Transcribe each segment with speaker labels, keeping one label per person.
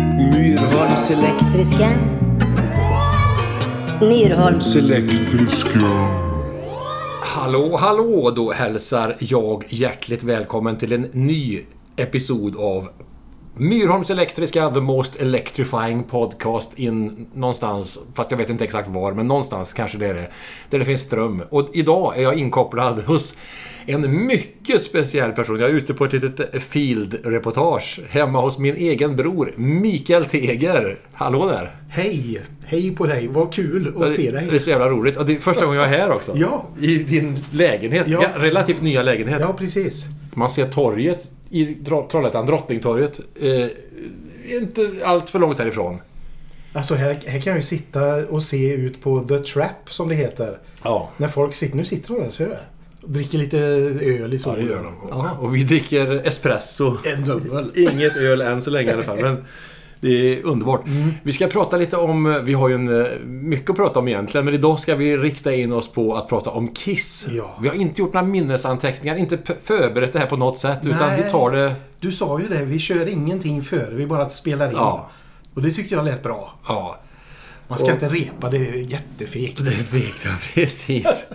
Speaker 1: Myrholms elektriska. Myrholms elektriska.
Speaker 2: Hallå, hallå! Då hälsar jag hjärtligt välkommen till en ny episod av Myrholms Elektriska, the most electrifying podcast in någonstans, fast jag vet inte exakt var, men någonstans kanske det är det. Där det finns ström. Och idag är jag inkopplad hos en mycket speciell person. Jag är ute på ett litet field-reportage hemma hos min egen bror Mikael Teger. Hallå där!
Speaker 3: Hej! Hej på dig! Vad kul
Speaker 2: Ja,
Speaker 3: att
Speaker 2: det-
Speaker 3: se
Speaker 2: Det är
Speaker 3: dig!
Speaker 2: så jävla roligt. Och det är första gången jag är här också.
Speaker 3: Ja.
Speaker 2: I din lägenhet.
Speaker 3: Ja.
Speaker 2: Ja. Relativt nya lägenhet.
Speaker 3: Ja, precis.
Speaker 2: Man ser torget i Dro- Trollhättan, Drottningtorget. Eh, inte allt för långt härifrån.
Speaker 3: Alltså här, här kan jag ju sitta och se ut på The Trap som det heter.
Speaker 2: Ja.
Speaker 3: När folk sitter... Nu sitter de där, ser du det? Och Dricker lite öl i
Speaker 2: Ja, det
Speaker 3: solen.
Speaker 2: gör de. Och vi dricker espresso.
Speaker 3: En dubbel.
Speaker 2: Inget öl än så länge i alla fall. Men det är underbart.
Speaker 3: Mm.
Speaker 2: Vi ska prata lite om... Vi har ju en, eh, mycket att prata om egentligen, men idag ska vi rikta in oss på att prata om Kiss.
Speaker 3: Ja.
Speaker 2: Vi har inte gjort några minnesanteckningar, inte p- förberett det här på något sätt, utan
Speaker 3: Nej.
Speaker 2: vi tar det...
Speaker 3: Du sa ju det, vi kör ingenting före, vi bara spelar in.
Speaker 2: Ja.
Speaker 3: Och det tyckte jag lät bra.
Speaker 2: Ja,
Speaker 3: Man ska
Speaker 2: Och-
Speaker 3: inte repa, det är jättefegt.
Speaker 2: det vet jag precis.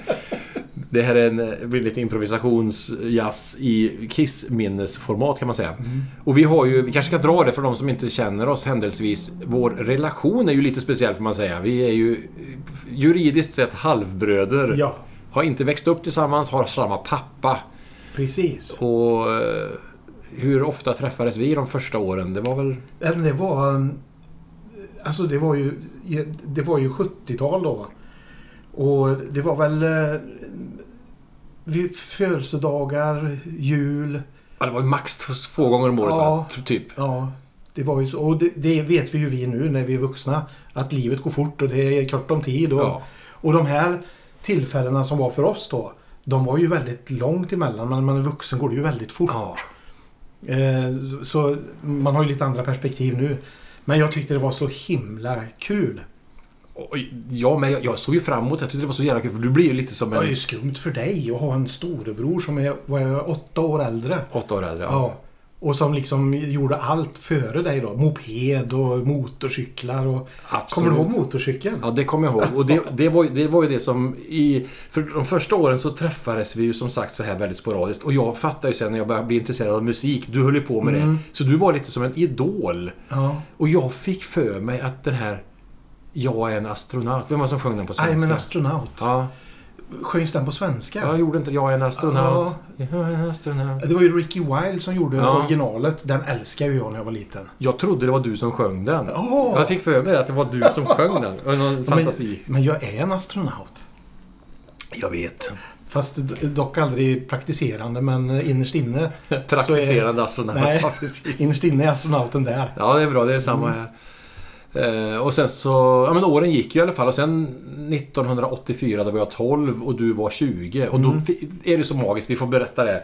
Speaker 2: Det här är en, eh, blir lite improvisationsjazz i Kiss-minnesformat kan man säga.
Speaker 3: Mm.
Speaker 2: Och vi har ju, vi kanske kan dra det för de som inte känner oss händelsevis. Vår relation är ju lite speciell får man säga. Vi är ju eh, juridiskt sett halvbröder.
Speaker 3: Ja.
Speaker 2: Har inte växt upp tillsammans, har samma pappa.
Speaker 3: Precis.
Speaker 2: Och eh, hur ofta träffades vi de första åren? Det var väl...
Speaker 3: Ja, men Det var... um, Alltså det var ju... Det var ju 70-tal då. Och det var väl... eh, Vid födelsedagar, jul.
Speaker 2: Ja, det var ju max t- två gånger om året
Speaker 3: Ja.
Speaker 2: va? T- Typ.
Speaker 3: Ja, det var ju så. Och det, det vet vi ju vi nu när vi är vuxna. Att livet går fort och det är kort om tid. Och,
Speaker 2: Ja.
Speaker 3: och de här tillfällena som var för oss då. De var ju väldigt långt emellan. Men när man är vuxen går det ju väldigt fort.
Speaker 2: Ja.
Speaker 3: Eh, så- Så man har ju lite andra perspektiv nu. Men jag tyckte det var så himla kul.
Speaker 2: Och Jag med, jag såg ju fram emot det. Jag tyckte det var så jävla kul för du blir ju lite som
Speaker 3: Det var
Speaker 2: en
Speaker 3: ju skumt för dig att ha en storebror som är vad är jag, åtta år äldre.
Speaker 2: åtta år äldre. Ja.
Speaker 3: Ja. Och som liksom gjorde allt före dig då. Moped och motorcyklar och...
Speaker 2: Absolut.
Speaker 3: Kommer du ihåg motorcykeln?
Speaker 2: Ja, det kommer jag ihåg. Och det, det, var, ju- det var ju det som i... För de första åren så träffades vi ju som sagt så här väldigt sporadiskt. Och jag fattade ju sen när jag började bli intresserad av musik, du höll ju på med det. Så du var lite som en idol.
Speaker 3: Ja.
Speaker 2: Och jag fick för mig att den här Jag är en astronaut. Vem var det som sjöng den på
Speaker 3: I'm an
Speaker 2: svenska?
Speaker 3: astronaut.
Speaker 2: Ja,
Speaker 3: Sjöngs den på svenska?
Speaker 2: jag gjorde inte Jag är en astronaut. Jag är en astronaut.
Speaker 3: Det var ju Ricky Wilde som gjorde
Speaker 2: Ja.
Speaker 3: originalet. Den älskade ju jag när jag var liten.
Speaker 2: Jag trodde det var du som sjöng den.
Speaker 3: Åh!
Speaker 2: Jag fick för mig att det var du som sjöng den. Och Någon fantasi.
Speaker 3: Men, men jag är en astronaut.
Speaker 2: Jag vet.
Speaker 3: Fast do- dock aldrig praktiserande, men innerst inne... så är-
Speaker 2: Praktiserande astronaut.
Speaker 3: Nej, Mm.
Speaker 2: Ja, precis.
Speaker 3: innerst inne är astronauten där.
Speaker 2: Ja, det är bra. Det är samma här. Eh, och sen så... Ja, men åren gick ju i alla fall. Och sen 1984, då var jag 12 och du var 20. Och
Speaker 3: Mm.
Speaker 2: då fi- är det så magiskt. Vi får berätta det.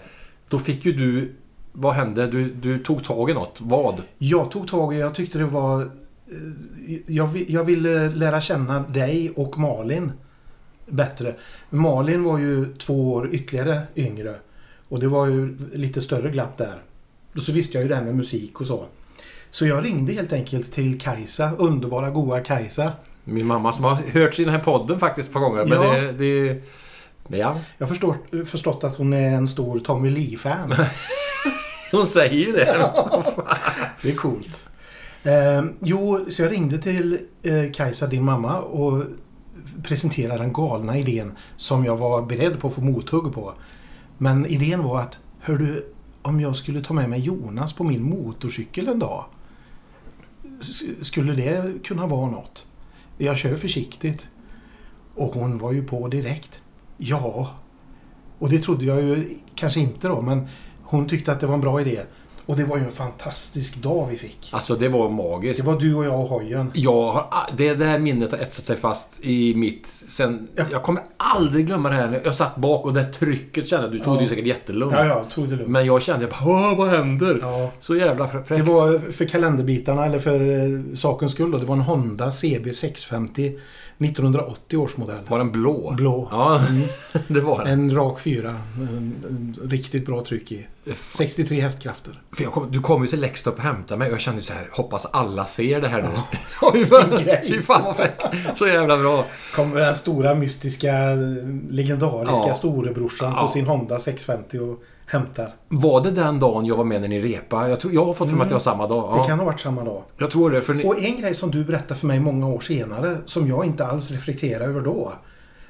Speaker 2: Då fick ju du... Vad hände? Du, du tog tag i något. Vad?
Speaker 3: Jag tog tag i, jag tyckte det var... eh, Jag, vi- jag ville lära känna dig och Malin bättre. Malin var ju två år ytterligare yngre. Och det var ju lite större glapp där. Och så visste jag ju det här med musik och så. Så jag ringde helt enkelt till Kajsa, underbara goa Kajsa.
Speaker 2: Min mamma som har hört i den här podden faktiskt ett par gånger. Men
Speaker 3: Ja.
Speaker 2: det... det men ja,
Speaker 3: Jag har förstått, förstått att hon är en stor Tommy Lee-fan.
Speaker 2: hon säger ju det.
Speaker 3: Det är coolt. Eh, jo, så jag ringde till eh, Kajsa, din mamma, och presenterade den galna idén som jag var beredd på att få mothugg på. Men idén var att, hör du, om jag skulle ta med mig Jonas på min motorcykel en dag, s- skulle det kunna vara något? Jag kör försiktigt. Och hon var ju på direkt. Ja. Och det trodde jag ju kanske inte då, men hon tyckte att det var en bra idé. Och det var ju en fantastisk dag vi fick.
Speaker 2: Alltså, det var magiskt.
Speaker 3: Det var du och jag och hojen.
Speaker 2: Jag har, a- det där minnet har etsat sig fast i mitt... Sen,
Speaker 3: Ja.
Speaker 2: Jag kommer aldrig glömma det här. Jag satt bak och det här trycket kände jag. Du tog det ju säkert jättelugnt.
Speaker 3: Ja, ja, tog det lugnt.
Speaker 2: Men jag kände jag bara "Åh, vad händer?
Speaker 3: Ja.
Speaker 2: Så jävla frä- fräckt.
Speaker 3: Det var för kalenderbitarna, eller för eh, sakens skull då. Det var en Honda CB 650 1980 års modell.
Speaker 2: Var den blå?
Speaker 3: Blå. Mm.
Speaker 2: Ja, det var den.
Speaker 3: En rak fyra. En, en, riktigt bra tryck i. 63 hästkrafter.
Speaker 2: För jag kom, du kom ju till Lextorp och hämtade mig och jag kände så här, hoppas alla ser det här nu.
Speaker 3: vilken grej.
Speaker 2: Fy fan vad fräckt! Så jävla bra!
Speaker 3: Kommer den stora mystiska, legendariska
Speaker 2: Ja.
Speaker 3: storebrorsan
Speaker 2: Ja.
Speaker 3: på sin Honda 650 och hämtar.
Speaker 2: Var det den dagen jag var med när ni repa? Jag, tror, jag har fått för mig att det var samma dag.
Speaker 3: Det
Speaker 2: Ja,
Speaker 3: kan ha varit samma dag.
Speaker 2: Jag tror det, för ni,
Speaker 3: Och en grej som du berättade för mig många år senare, som jag inte alls reflekterade över då.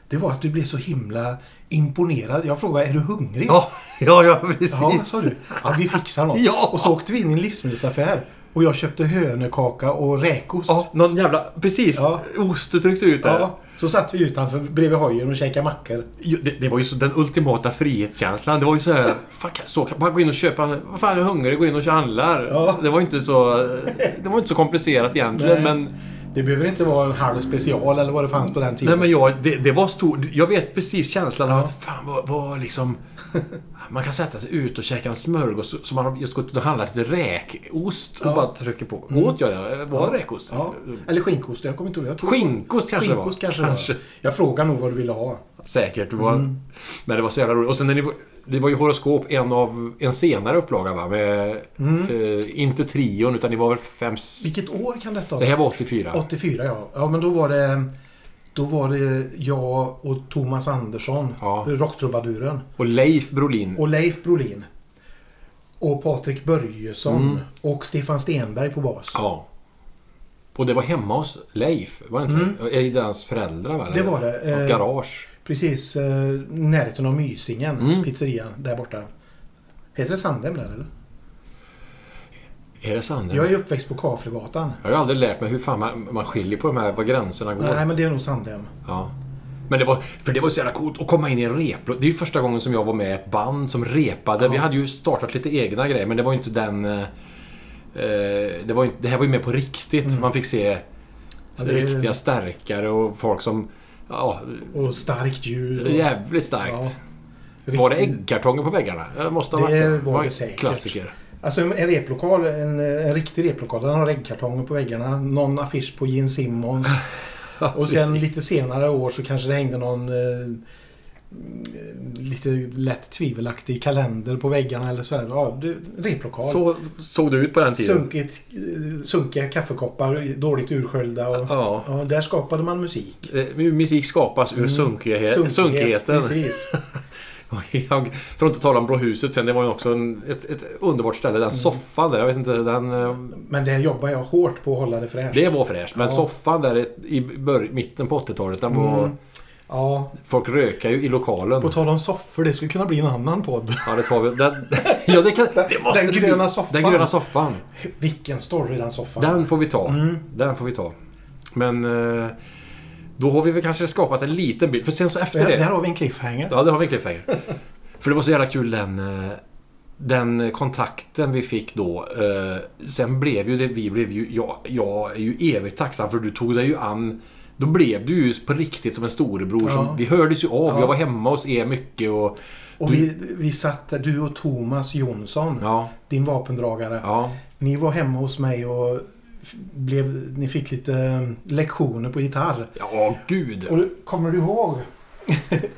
Speaker 3: Det var att du blev så himla imponerad. Jag frågade, är du hungrig?
Speaker 2: Ja, ja, ja precis.
Speaker 3: Ja, sa du. Ja, vi fixar något.
Speaker 2: Ja.
Speaker 3: Och så åkte vi in i en livsmedelsaffär. Och jag köpte hönökaka och räkost.
Speaker 2: Ja, någon jävla... Precis!
Speaker 3: Ja.
Speaker 2: Ost du tryckte ut där.
Speaker 3: Ja, så satt vi utanför bredvid hojen och käkade mackor.
Speaker 2: Ju- Det, det var ju så, den ultimata frihetskänslan. Det var ju så här, fan, kan, så kan bara gå in och köpa... Vad fan, jag är hungrig, gå in och handlar.
Speaker 3: Ja.
Speaker 2: Det var ju inte så... Det var inte så komplicerat egentligen,
Speaker 3: Nej.
Speaker 2: men...
Speaker 3: Eh, Det behöver inte vara en halv special eller vad det fanns på den
Speaker 2: Nej
Speaker 3: tiden.
Speaker 2: men jag, det, det var stor... Jag vet precis känslan av att fan vad, vad liksom... Man kan sätta sig ut och käka en smörgås som man har just gått ut och handlat lite räkost och
Speaker 3: Ja. Mm.
Speaker 2: bara trycker på. Åt jag det? Var det räkost?
Speaker 3: Ja. Eller skinkost, jag kommer inte ihåg. Jag tror-
Speaker 2: Skinkost kanske det var.
Speaker 3: Skinkost kanske, kanske. Det var. Jag frågade nog vad du ville ha.
Speaker 2: Säkert. Det var,
Speaker 3: Mm.
Speaker 2: Men det var så jävla roligt. Och sen när ni, det var ju Horoskop en av en senare upplaga va? Med,
Speaker 3: Mm.
Speaker 2: eh, inte trion, utan ni var väl fem... s-
Speaker 3: Vilket år kan
Speaker 2: Det
Speaker 3: detta vara?
Speaker 2: här var 84.
Speaker 3: 84 ja. Ja men då var det Då var det jag och Thomas Andersson,
Speaker 2: Ja.
Speaker 3: rocktrubaduren.
Speaker 2: Och Leif Brolin.
Speaker 3: Och Leif Brolin. Och Patrik Börjesson. Och Stefan Stenberg på bas.
Speaker 2: Mm. Ja. Och det var hemma hos Leif, var det inte det? I deras föräldrar va?
Speaker 3: Mm. Det var det.
Speaker 2: Något
Speaker 3: Eh,
Speaker 2: garage.
Speaker 3: Precis eh, närheten av Mysingen,
Speaker 2: Mm.
Speaker 3: pizzerian där borta. Heter det Sandhem där eller?
Speaker 2: Är det sant?
Speaker 3: Jag är uppväxt på Kaflegatan.
Speaker 2: Jag har ju aldrig lärt mig hur fan man, man skiljer på de här, var gränserna går.
Speaker 3: Nej men det är nog Sandhem.
Speaker 2: Ja. Men det var, för det var så jävla coolt att komma in i en replåt. Det är ju första gången som jag var med i ett band som repade. Vi hade ju startat lite egna grejer, men det var ju inte den... eh, eh, det, var ju, inte- det här var ju mer på riktigt. Man fick se
Speaker 3: Mm. Ja, det-
Speaker 2: riktiga stärkare och folk som... Ja,
Speaker 3: Och starkt djur. Och,
Speaker 2: jävligt starkt.
Speaker 3: Ja,
Speaker 2: var det
Speaker 3: riktigt-
Speaker 2: äggkartonger på väggarna? Det måste ha
Speaker 3: Det
Speaker 2: varit
Speaker 3: var
Speaker 2: en
Speaker 3: det säkert.
Speaker 2: Klassiker.
Speaker 3: Alltså en en replokal, en, en riktig replokal. Den har äggkartonger på väggarna, någon affisch på Gene Simmons.
Speaker 2: Ja,
Speaker 3: Och sen
Speaker 2: precis.
Speaker 3: lite senare år så kanske det hängde någon eh, mm, lite lätt tvivelaktig kalender på väggarna eller sådär. Ja, det- replokal.
Speaker 2: Så såg du ut på den tiden.
Speaker 3: Sunkigt, eh, sunkiga kaffekoppar, dåligt ursköljda. Och,
Speaker 2: Ja.
Speaker 3: ja, där skapade man musik.
Speaker 2: Eh, Musik skapas ur sunkighet, sunkigheten.
Speaker 3: Mm. Precis.
Speaker 2: Och Jag, för att inte tala om Blå huset sen, det var ju också en, ett, ett underbart ställe.
Speaker 3: Mm.
Speaker 2: Den soffan där, jag vet inte, den... eh,
Speaker 3: Men där jobbar jag hårt på att hålla det fräscht.
Speaker 2: Det var fräscht. Men
Speaker 3: Ja.
Speaker 2: soffan där i- i bör, mitten på 80-talet, den var...
Speaker 3: Ja,
Speaker 2: Folk rökar ju i lokalen.
Speaker 3: Mm. på tal om soffor, det skulle kunna bli en annan podd.
Speaker 2: Ja, det tar vi. Den, ja, det kan, det måste
Speaker 3: den
Speaker 2: det
Speaker 3: gröna
Speaker 2: bli.
Speaker 3: soffan.
Speaker 2: Den gröna soffan.
Speaker 3: Vilken story den soffan.
Speaker 2: Den får vi ta.
Speaker 3: Mm.
Speaker 2: Den får vi ta. Men... eh, Då har vi väl kanske skapat en liten bild. För sen så efter
Speaker 3: Där,
Speaker 2: det...
Speaker 3: där har vi en cliffhanger.
Speaker 2: Ja, det har vi en cliffhanger. För det var så jävla kul den, eh, den kontakten vi fick då. Eh, Sen blev ju det, vi blev ju, jag, jag är ju evigt tacksam för du tog dig ju an då blev du ju på riktigt som en storebror. Som,
Speaker 3: Ja.
Speaker 2: vi hördes ju av.
Speaker 3: Ja.
Speaker 2: Jag var hemma hos er mycket och...
Speaker 3: Och vi, vi satt, du och Thomas Jonsson,
Speaker 2: Ja,
Speaker 3: din vapendragare.
Speaker 2: ja.
Speaker 3: Ni var hemma hos mig och f- blev, ni fick lite eh, lektioner på gitarr.
Speaker 2: Ja, gud.
Speaker 3: Och kommer du ihåg?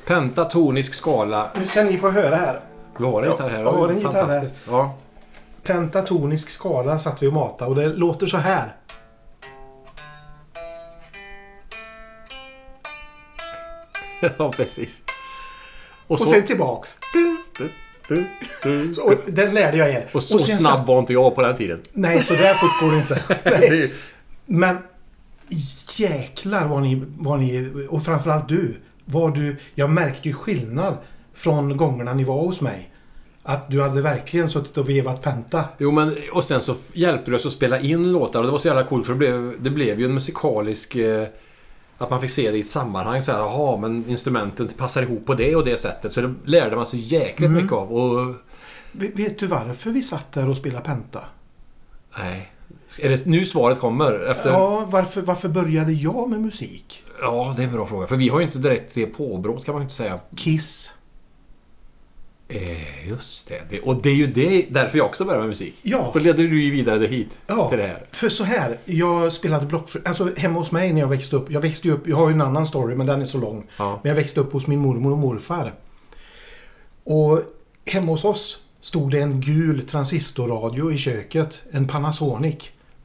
Speaker 2: Pentatonisk skala.
Speaker 3: Nu ska ni få höra här.
Speaker 2: Du har en gitarr här.
Speaker 3: jag har en gitarr här.
Speaker 2: Fantastiskt. Ja.
Speaker 3: Pentatonisk skala satt vi och matade och det låter så här.
Speaker 2: ja, precis. Och så... Mm.
Speaker 3: Och sen tillbaks. Och den lärde jag er.
Speaker 2: och så
Speaker 3: sen
Speaker 2: snabb
Speaker 3: Satt,
Speaker 2: var inte jag på den tiden.
Speaker 3: nej, så där fort går det inte. Nej.
Speaker 2: Det-
Speaker 3: Men jäklar vad ni, vad ni, och framförallt du, vad du, jag märkte ju skillnad från gångerna ni var hos mig. Att du hade verkligen suttit och vevat penta.
Speaker 2: Jo men, och sen så hjälpte du oss att spela in låtar och det var så jävla coolt för det blev, det blev ju en musikalisk... Eh, att man fick se det i ett sammanhang så här, jaha men instrumenten passar ihop på det och det sättet. Så det lärde man sig jäkligt
Speaker 3: Mm.
Speaker 2: mycket av och...
Speaker 3: V- Vet du varför vi satt där och spelade penta?
Speaker 2: Nej. Är det nu svaret kommer? Efter... Ja.
Speaker 3: Ja, varför, varför började jag med musik?
Speaker 2: det är en bra fråga. För vi har ju inte direkt det påbrott kan man ju inte säga.
Speaker 3: Kiss.
Speaker 2: Eh, just det. det. Och det är ju det, därför jag också började med musik.
Speaker 3: Ja.
Speaker 2: Då ledde du ju vidare det hit.
Speaker 3: Ja,
Speaker 2: Till det här.
Speaker 3: för så här. Jag spelade blockflöjt. Alltså hemma hos mig när jag växte upp. Jag växte ju upp, jag har ju en annan story men den är så lång.
Speaker 2: Ja.
Speaker 3: Men jag växte upp hos min mormor och morfar. Och hemma hos oss stod det en gul transistorradio i köket. En Panasonic.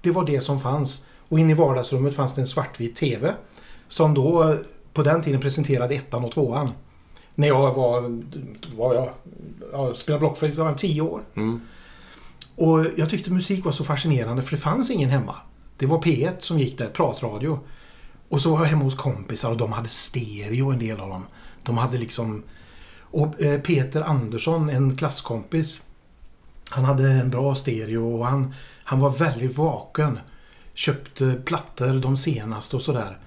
Speaker 3: Det var det som fanns. Och inne i vardagsrummet fanns det en svartvit TV. Som då eh, på den tiden presenterade ettan och tvåan. När jag var, var jag, jag spelade blockflöjt, jag var tio år.
Speaker 2: Mm.
Speaker 3: Och jag tyckte musik var så fascinerande för det fanns ingen hemma. Det var P1 som gick där, pratradio. Och så var jag hemma hos kompisar och de hade stereo en del av dem. De hade liksom... Och eh, Peter Andersson, en klasskompis, han hade en bra stereo och han, han var väldigt vaken. Köpte plattor, de senaste och sådär.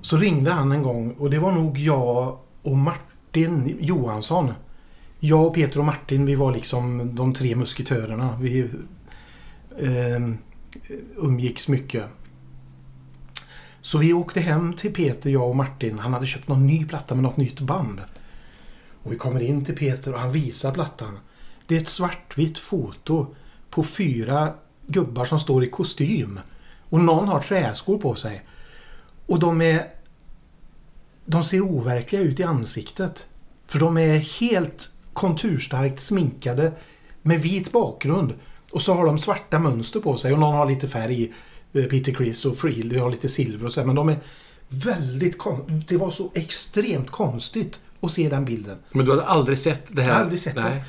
Speaker 3: Så ringde han en gång och det var nog jag och Martin Johansson. Jag och Peter och Martin, vi var liksom de tre musketörerna. Vi eh, umgicks mycket. Så vi åkte hem till Peter, jag och Martin. Han hade köpt någon ny platta med något nytt band. Och vi kommer in till Peter och han visar plattan. Det är ett svartvitt foto på fyra gubbar som står i kostym. Och någon har träskor på sig. Och de är... De ser overkliga ut i ansiktet. För de är helt konturstarkt sminkade med vit bakgrund. Och så har de svarta mönster på sig och någon har lite färg. eh, Peter Criss och Frehley har lite silver och så här, men de är väldigt kon- Det var så extremt konstigt att se den bilden.
Speaker 2: Men du hade aldrig sett det här?
Speaker 3: Jag har aldrig sett
Speaker 2: Nej.
Speaker 3: det.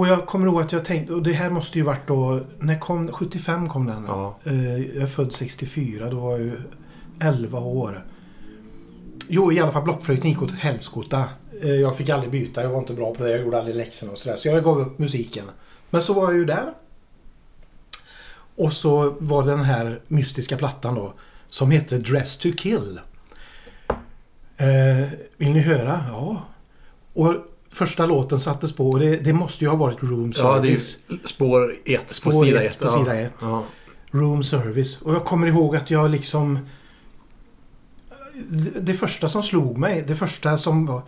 Speaker 3: Och jag kommer ihåg att jag tänkte, och det här måste ju varit då, när kom, 75 kom den.
Speaker 2: Ja.
Speaker 3: Eh, Jag är född 64, då var jag ju 11 år. Jo, i alla fall blockflöjten gick åt helskotta. Eh, Jag fick aldrig byta, jag var inte bra på det, jag gjorde aldrig läxorna och sådär. Så jag gav upp musiken. Men så var jag ju där. Och så var den här mystiska plattan då, som hette Dress to kill. Eh, vill ni höra? Ja. Och första låten sattes på och det, det måste ju ha varit Room
Speaker 2: Ja, det är ju
Speaker 3: Service.
Speaker 2: spår 1 på
Speaker 3: Spår
Speaker 2: sida
Speaker 3: ett
Speaker 2: 1.
Speaker 3: på sida ett.
Speaker 2: Ja.
Speaker 3: Room service. Och jag kommer ihåg att jag liksom... Det, det första som slog mig, det första som var...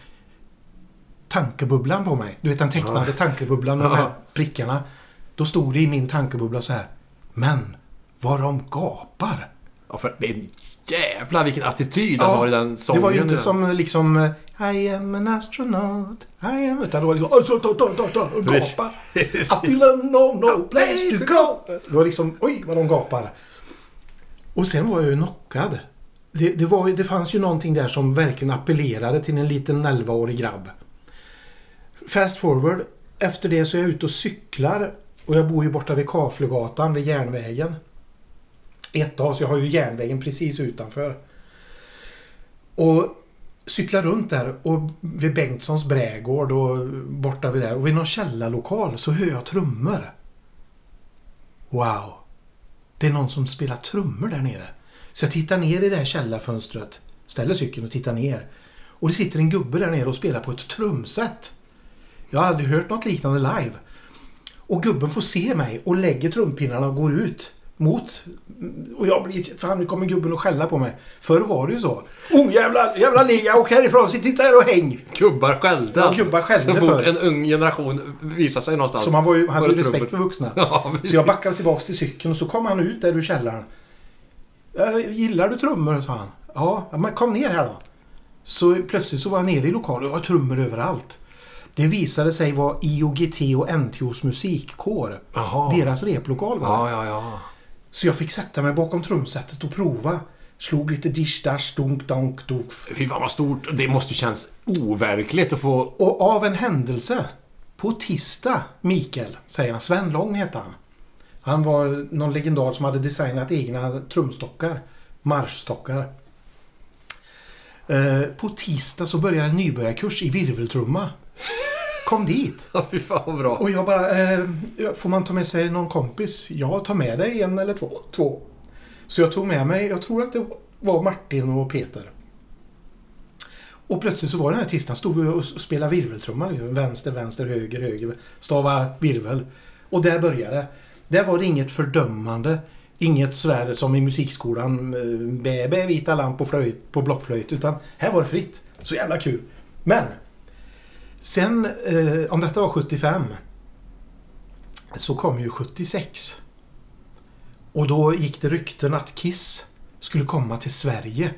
Speaker 3: Tankebubblan på mig. Du vet den tecknade tankebubblan med de här
Speaker 2: Ja.
Speaker 3: prickarna. Då stod det i min tankebubbla så här. Men, vad de gapar!
Speaker 2: ja, för det är en jävla vilken attityd
Speaker 3: Ja,
Speaker 2: han har i den sången.
Speaker 3: det var ju inte
Speaker 2: nu.
Speaker 3: som liksom... eh, I am an astronaut. I am... Utan det var liksom... "Alltså, ta, ta, ta, ta", och Gapar. I feel no, no place to go. Det var liksom... Oj, vad de gapar. Och sen var jag ju knockad. Det, det, var, ju- det fanns ju någonting där som verkligen appellerade till en liten 11-årig grabb. Fast forward. Efter det så är jag ute och cyklar. Och jag bor ju borta vid Kaflugatan, vid järnvägen. Ett av, så jag har ju järnvägen precis utanför. Och cyklar runt där och vid Bengtssons brädgård och borta vid där. Och vid någon källarlokal så hör jag trummor. Wow! Det är någon som spelar trummor där nere. Så jag tittar ner i det här källarfönstret. Ställer cykeln och tittar ner. Och det sitter en gubbe där nere och spelar på ett trumset. Jag har aldrig hört något liknande live. Och gubben får se mig och lägger trumpinnarna och går ut mot... Och jag blir... Fan, nu kommer gubben och skälla på mig. Förr var det ju så. Oh, jävla, jävla liga! Åk härifrån! Sitt inte här och häng!
Speaker 2: Gubbar skällde
Speaker 3: Ja, gubbar skällde
Speaker 2: Så fort
Speaker 3: förr.
Speaker 2: en ung generation visar sig någonstans.
Speaker 3: Så man var ju, hade
Speaker 2: var det
Speaker 3: ju
Speaker 2: trubbel.
Speaker 3: respekt för vuxna.
Speaker 2: Ja, precis.
Speaker 3: Så jag backade tillbaks till cykeln och så kom han ut där ur källaren. "Eh, Gillar du trummor? sa han. Ja, ja, men kom ner här då. Så plötsligt så var jag nere i lokalen och det var trummor överallt. Det visade sig vara IOGT och NTOs musikkår.
Speaker 2: Jaha.
Speaker 3: Deras replokal var det.
Speaker 2: Ja, ja, ja.
Speaker 3: Så jag fick sätta mig bakom trumsetet och prova. Slog lite dish-dash, dunk-donk, doof.
Speaker 2: Fy fan vad stort. Det måste ju känns overkligt att få...
Speaker 3: Och av en händelse, på tisdag, Mikael, säger han. Sven Lång heter han. Han var någon legendar som hade designat egna trumstockar. Marschstockar. Eh, på tisdag så börjar en nybörjarkurs i virveltrumma. Kom dit!
Speaker 2: Ja, Fy fan vad bra.
Speaker 3: Och jag bara, eh, får man ta med sig någon kompis? Ja, ta med dig en eller två. två. Så jag tog med mig, jag tror att det var Martin och Peter. Och plötsligt så var den här tisdagen, stod vi och s- spelade virveltrumma. Liksom. Vänster, vänster, höger, höger. Stava virvel. Och där började det. Där var det inget fördömande. Inget sådär som i musikskolan, eh, bä, bä, vita lamp och flöjt, på blockflöjt. Utan här var det fritt. Så jävla kul. Men Sen, eh, om detta var 75, så kom ju 76. Och då gick det rykten att Kiss skulle komma till Sverige.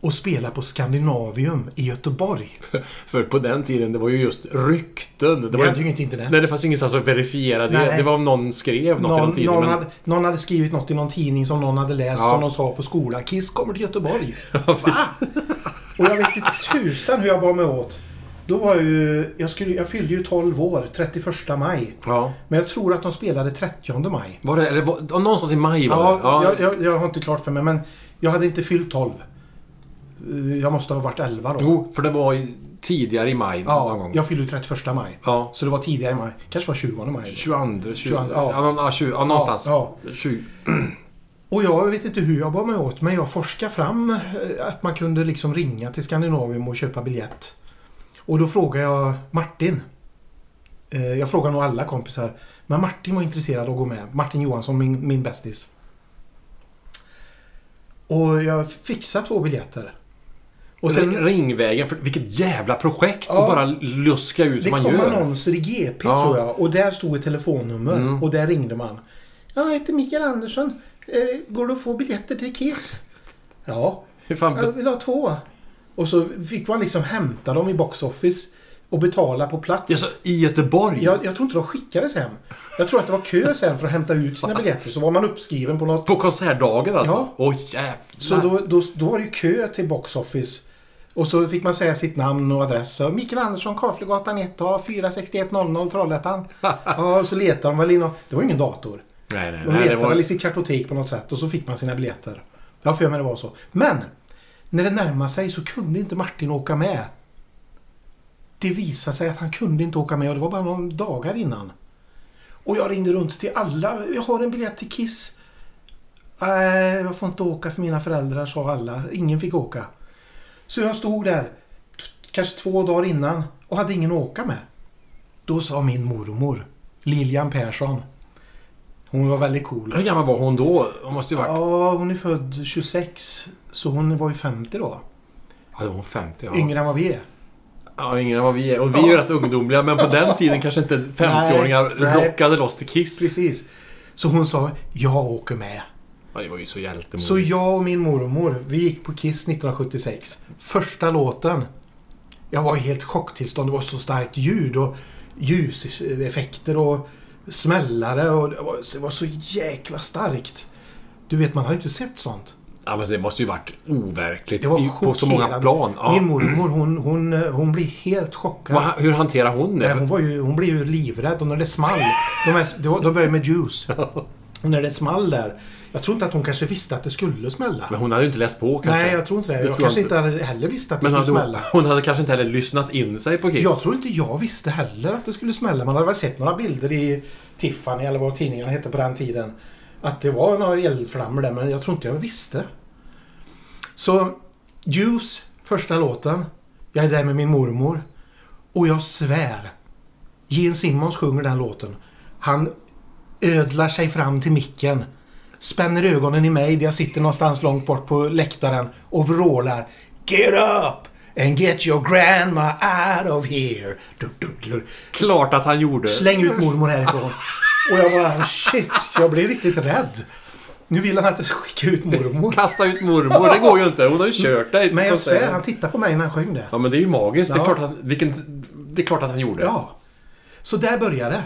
Speaker 3: och spela på Skandinavium i Göteborg.
Speaker 2: För på den tiden, det var ju just rykten. Det
Speaker 3: Vi
Speaker 2: var
Speaker 3: hade ju inte internet.
Speaker 2: Nej, det fanns ju ingenstans att verifiera det.
Speaker 3: Nej.
Speaker 2: Det var om någon skrev något i någon
Speaker 3: Någon,
Speaker 2: tidning.
Speaker 3: någon,
Speaker 2: men...
Speaker 3: hade, någon hade skrivit något i någon tidning som någon hade läst
Speaker 2: Ja.
Speaker 3: som de sa på skolan. Kiss kommer till Göteborg.
Speaker 2: Ja, precis.
Speaker 3: Och jag vet inte tusan hur jag bar mig åt. Då var jag ju... Jag, skulle, jag fyllde ju 12 år, 31 maj.
Speaker 2: ja.
Speaker 3: Men jag tror att de spelade 30 maj.
Speaker 2: Var det, eller var, någonstans i maj var
Speaker 3: Ja,
Speaker 2: det?
Speaker 3: Jag, jag, jag har inte klart för mig, men jag hade inte fyllt 12. Eh, Jag måste ha varit 11 då.
Speaker 2: Jo, för det var ju tidigare i maj någon
Speaker 3: Ja,
Speaker 2: gång.
Speaker 3: jag fyllde ju 31 maj.
Speaker 2: Ja.
Speaker 3: Så det var tidigare i maj. Kanske var 20 maj.
Speaker 2: 22, 20, ja.
Speaker 3: 22, ja.
Speaker 2: någon- Ja, 20, ja, någonstans.
Speaker 3: Ja,
Speaker 2: 20.
Speaker 3: Och jag vet inte hur jag bar mig åt, men jag forskade fram eh, att man kunde liksom ringa till Skandinavium och köpa biljett. Och då frågade jag Martin. Eh, Jag frågade nog alla kompisar. Men Martin var intresserad av att gå med. Martin Johansson, min, min bästis. Och jag fixade två biljetter.
Speaker 2: Och
Speaker 3: Och sen
Speaker 2: Ringvägen, för vilket jävla projekt
Speaker 3: Ja.
Speaker 2: att bara luska ut
Speaker 3: det
Speaker 2: hur man
Speaker 3: kom
Speaker 2: gör.
Speaker 3: annonser i GP
Speaker 2: Ja. Mm.
Speaker 3: tror jag. Och där stod ett telefonnummer. Och där ringde man. Jag heter Mikael Andersson. Eh, Går det att få biljetter till Kiss? Ja,
Speaker 2: Hur fan,
Speaker 3: Jag vill ha två. Och så fick man liksom hämta dem i box office och betala på plats.
Speaker 2: ja, så, I Göteborg?
Speaker 3: Jag, jag tror inte de skickades hem. Jag tror att det var kö sen för att hämta ut sina biljetter. Så var man uppskriven på något.
Speaker 2: På konsertdagen alltså?
Speaker 3: Ja.
Speaker 2: Åh jävlar.
Speaker 3: Så då, då, då var det ju kö till box office. Och så fick man säga sitt namn och adress. Så, Mikael Andersson, Karlflygatan 1A, 46100 Trollhättan. Ja, och så letade de väl in och, Det var ju ingen dator.
Speaker 2: Nej, nej,
Speaker 3: De
Speaker 2: nej. Det
Speaker 3: letade väl
Speaker 2: var...
Speaker 3: i sitt kartotek på något sätt och så fick man sina biljetter. Jag har för mig det var så. Men! När det närmade sig så kunde inte Martin åka med. Det visade sig att han kunde inte åka med och det var bara några dagar innan. Och jag ringde runt till alla. Jag har en biljett till Kiss. Nej, jag får inte åka för mina föräldrar sa alla. Ingen fick åka. Så jag stod där t- kanske två dagar innan och hade ingen att åka med. Då sa min mormor, Lilian Persson. Hon var väldigt cool.
Speaker 2: Hur gammal var hon då? Hon måste ju varit...
Speaker 3: Ja, hon är född 26. Så hon var ju 50 då.
Speaker 2: Ja, det var hon 50 ja.
Speaker 3: Yngre än vad vi är.
Speaker 2: Ja, yngre än vad vi är. Och vi är ju rätt ungdomliga, men på den tiden kanske inte 50-åringar
Speaker 3: Nej, nej.
Speaker 2: rockade loss till Kiss.
Speaker 3: Precis. Så hon sa, jag åker med.
Speaker 2: Ja, det var ju så hjältemodigt.
Speaker 3: Så jag och min mormor, vi gick på Kiss 1976. Första låten. Jag var i helt chocktillstånd. Det var så starkt ljud och ljuseffekter och smällare. Och det, var, det var så jäkla starkt. Du vet, man har ju inte sett sånt.
Speaker 2: Ja, men det måste ju varit overkligt
Speaker 3: Det var
Speaker 2: i- på så många
Speaker 3: chockerande.
Speaker 2: plan. Ja.
Speaker 3: Min mormor, hon, hon, hon blev helt chockad.
Speaker 2: Vad- Hur hanterar hon det?
Speaker 3: Nej, hon, var ju, hon blev ju livrädd och när det small. De, här, det var- de började med juice. Och när det small där. Jag tror inte att hon kanske visste att det skulle smälla.
Speaker 2: Men hon hade ju inte läst på kanske.
Speaker 3: Nej, jag tror inte det.
Speaker 2: Det
Speaker 3: jag
Speaker 2: tror jag
Speaker 3: kanske
Speaker 2: inte.
Speaker 3: inte hade heller visste att det
Speaker 2: men
Speaker 3: skulle
Speaker 2: hade hon,
Speaker 3: smälla.
Speaker 2: hon hade kanske inte heller lyssnat in sig på Kiss.
Speaker 3: Jag tror inte jag visste heller att det skulle smälla. Man hade väl sett några bilder i Tiffany eller vad tidningarna hette på den tiden. Att det var några eldflammor där, men jag tror inte jag visste. Så Juice, första låten. Jag är där med min mormor. Och jag svär. Gene Simmons sjunger den låten. Han ödlar sig fram till micken. Spänner ögonen i mig där jag sitter någonstans långt bort på läktaren och vrålar Get up and get your grandma out of here. Du, du, du.
Speaker 2: Klart att han gjorde.
Speaker 3: Släng ut mormor härifrån. Och jag bara shit, jag blev riktigt rädd. Nu vill han att jag ska skicka ut mormor.
Speaker 2: Kasta ut mormor, det går ju inte. Hon har ju kört dig.
Speaker 3: Mm. Men jag
Speaker 2: Och så-
Speaker 3: svär, han tittade på mig när han sjöng det.
Speaker 2: Ja, men det är ju magiskt. Det, är
Speaker 3: Ja.
Speaker 2: klart att, vilken, det är klart att han gjorde.
Speaker 3: Ja. Så där började det.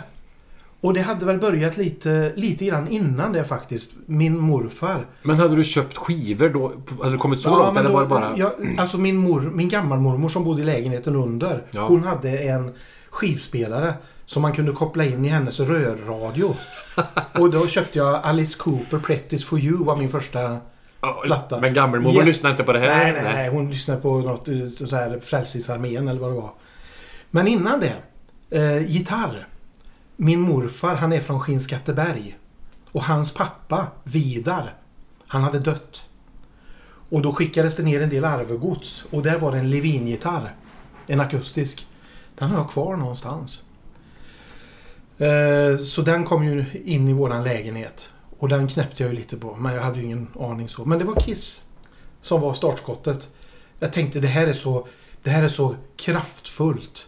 Speaker 3: Och det hade väl börjat lite, lite grann innan det faktiskt. Min morfar.
Speaker 2: Men hade du köpt skivor då? Hade du kommit så
Speaker 3: Ja,
Speaker 2: långt?
Speaker 3: men
Speaker 2: Eller
Speaker 3: då,
Speaker 2: var det bara...
Speaker 3: jag, alltså min, mor, min gammalmormor som bodde i lägenheten under.
Speaker 2: Ja.
Speaker 3: Hon hade en skivspelare som man kunde koppla in i hennes rörradio. och då köpte jag Alice Cooper, Pretty's for you var min första...
Speaker 2: Ja,
Speaker 3: platta.
Speaker 2: Men gammelmormor
Speaker 3: Ja.
Speaker 2: lyssnade inte på det här.
Speaker 3: Nej, nej, nej. Hon lyssnade på något eh, sånt här Frälsningsarmén eller vad det var. Men innan det. Eh, gitarr. Min morfar, han är från Skinnskatteberg. Och hans pappa, Vidar, han hade dött. Och då skickades det ner en del arvegods. Och där var det en Levin-gitarr. En akustisk. Den har jag kvar någonstans. Eh, Så den kom ju in i våran lägenhet. Och den knäppte jag ju lite på. Men jag hade ju ingen aning så. Men det var Kiss som var startskottet. Jag tänkte det här är så, det här är så kraftfullt.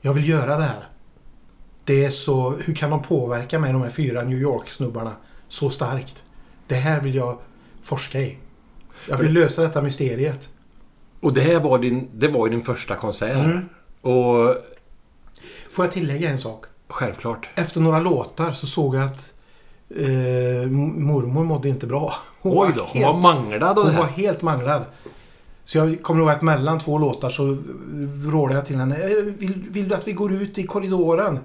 Speaker 3: Jag vill göra det här. Det är så, hur kan de påverka mig, de här fyra New York-snubbarna, så starkt? Det här vill jag forska i. Jag vill lösa detta mysteriet.
Speaker 2: Och det här var din, det var ju din första konsert.
Speaker 3: Mm.
Speaker 2: Och
Speaker 3: Får jag tillägga en sak?
Speaker 2: självklart.
Speaker 3: Efter några låtar så såg jag att eh, m- mormor mådde inte bra. Hon
Speaker 2: Oj
Speaker 3: var
Speaker 2: då, hon
Speaker 3: helt-
Speaker 2: var manglad av det
Speaker 3: Hon var
Speaker 2: här.
Speaker 3: helt manglad. Så jag kommer ihåg att mellan två låtar så vrålade jag till henne. "Eh, Vill, vill du att vi går ut i korridoren?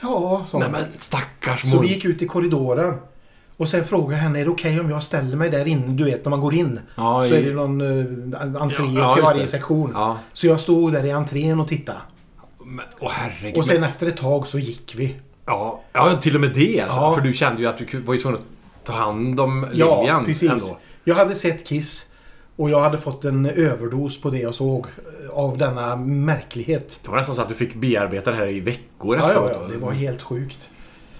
Speaker 3: Ja, sa
Speaker 2: Nej
Speaker 3: hon.
Speaker 2: men stackars
Speaker 3: Så
Speaker 2: mor.
Speaker 3: vi gick ut i korridoren. Och sen frågade jag henne, är det okej om jag ställer mig där inne? Du vet när man går in.
Speaker 2: Ja,
Speaker 3: så
Speaker 2: i-
Speaker 3: är det någon eh, en- entré
Speaker 2: Ja, ja,
Speaker 3: till
Speaker 2: just
Speaker 3: varje
Speaker 2: det.
Speaker 3: sektion.
Speaker 2: Ja.
Speaker 3: Så jag stod där i entrén och tittade.
Speaker 2: Men, åh herregud.
Speaker 3: Och sen
Speaker 2: men,
Speaker 3: efter ett tag så gick vi.
Speaker 2: ja, ja, till och med det alltså.
Speaker 3: Ja.
Speaker 2: För du kände ju att du ku- var ju tvungen att ta hand om
Speaker 3: Ja,
Speaker 2: Lilian
Speaker 3: precis.
Speaker 2: ändå.
Speaker 3: Jag hade sett Kiss. Och jag hade fått en överdos på det jag såg. eh, Av denna märklighet.
Speaker 2: Det var nästan så att du fick bearbeta det här i veckor
Speaker 3: Ja, ja,
Speaker 2: efteråt.
Speaker 3: ja, det var helt sjukt.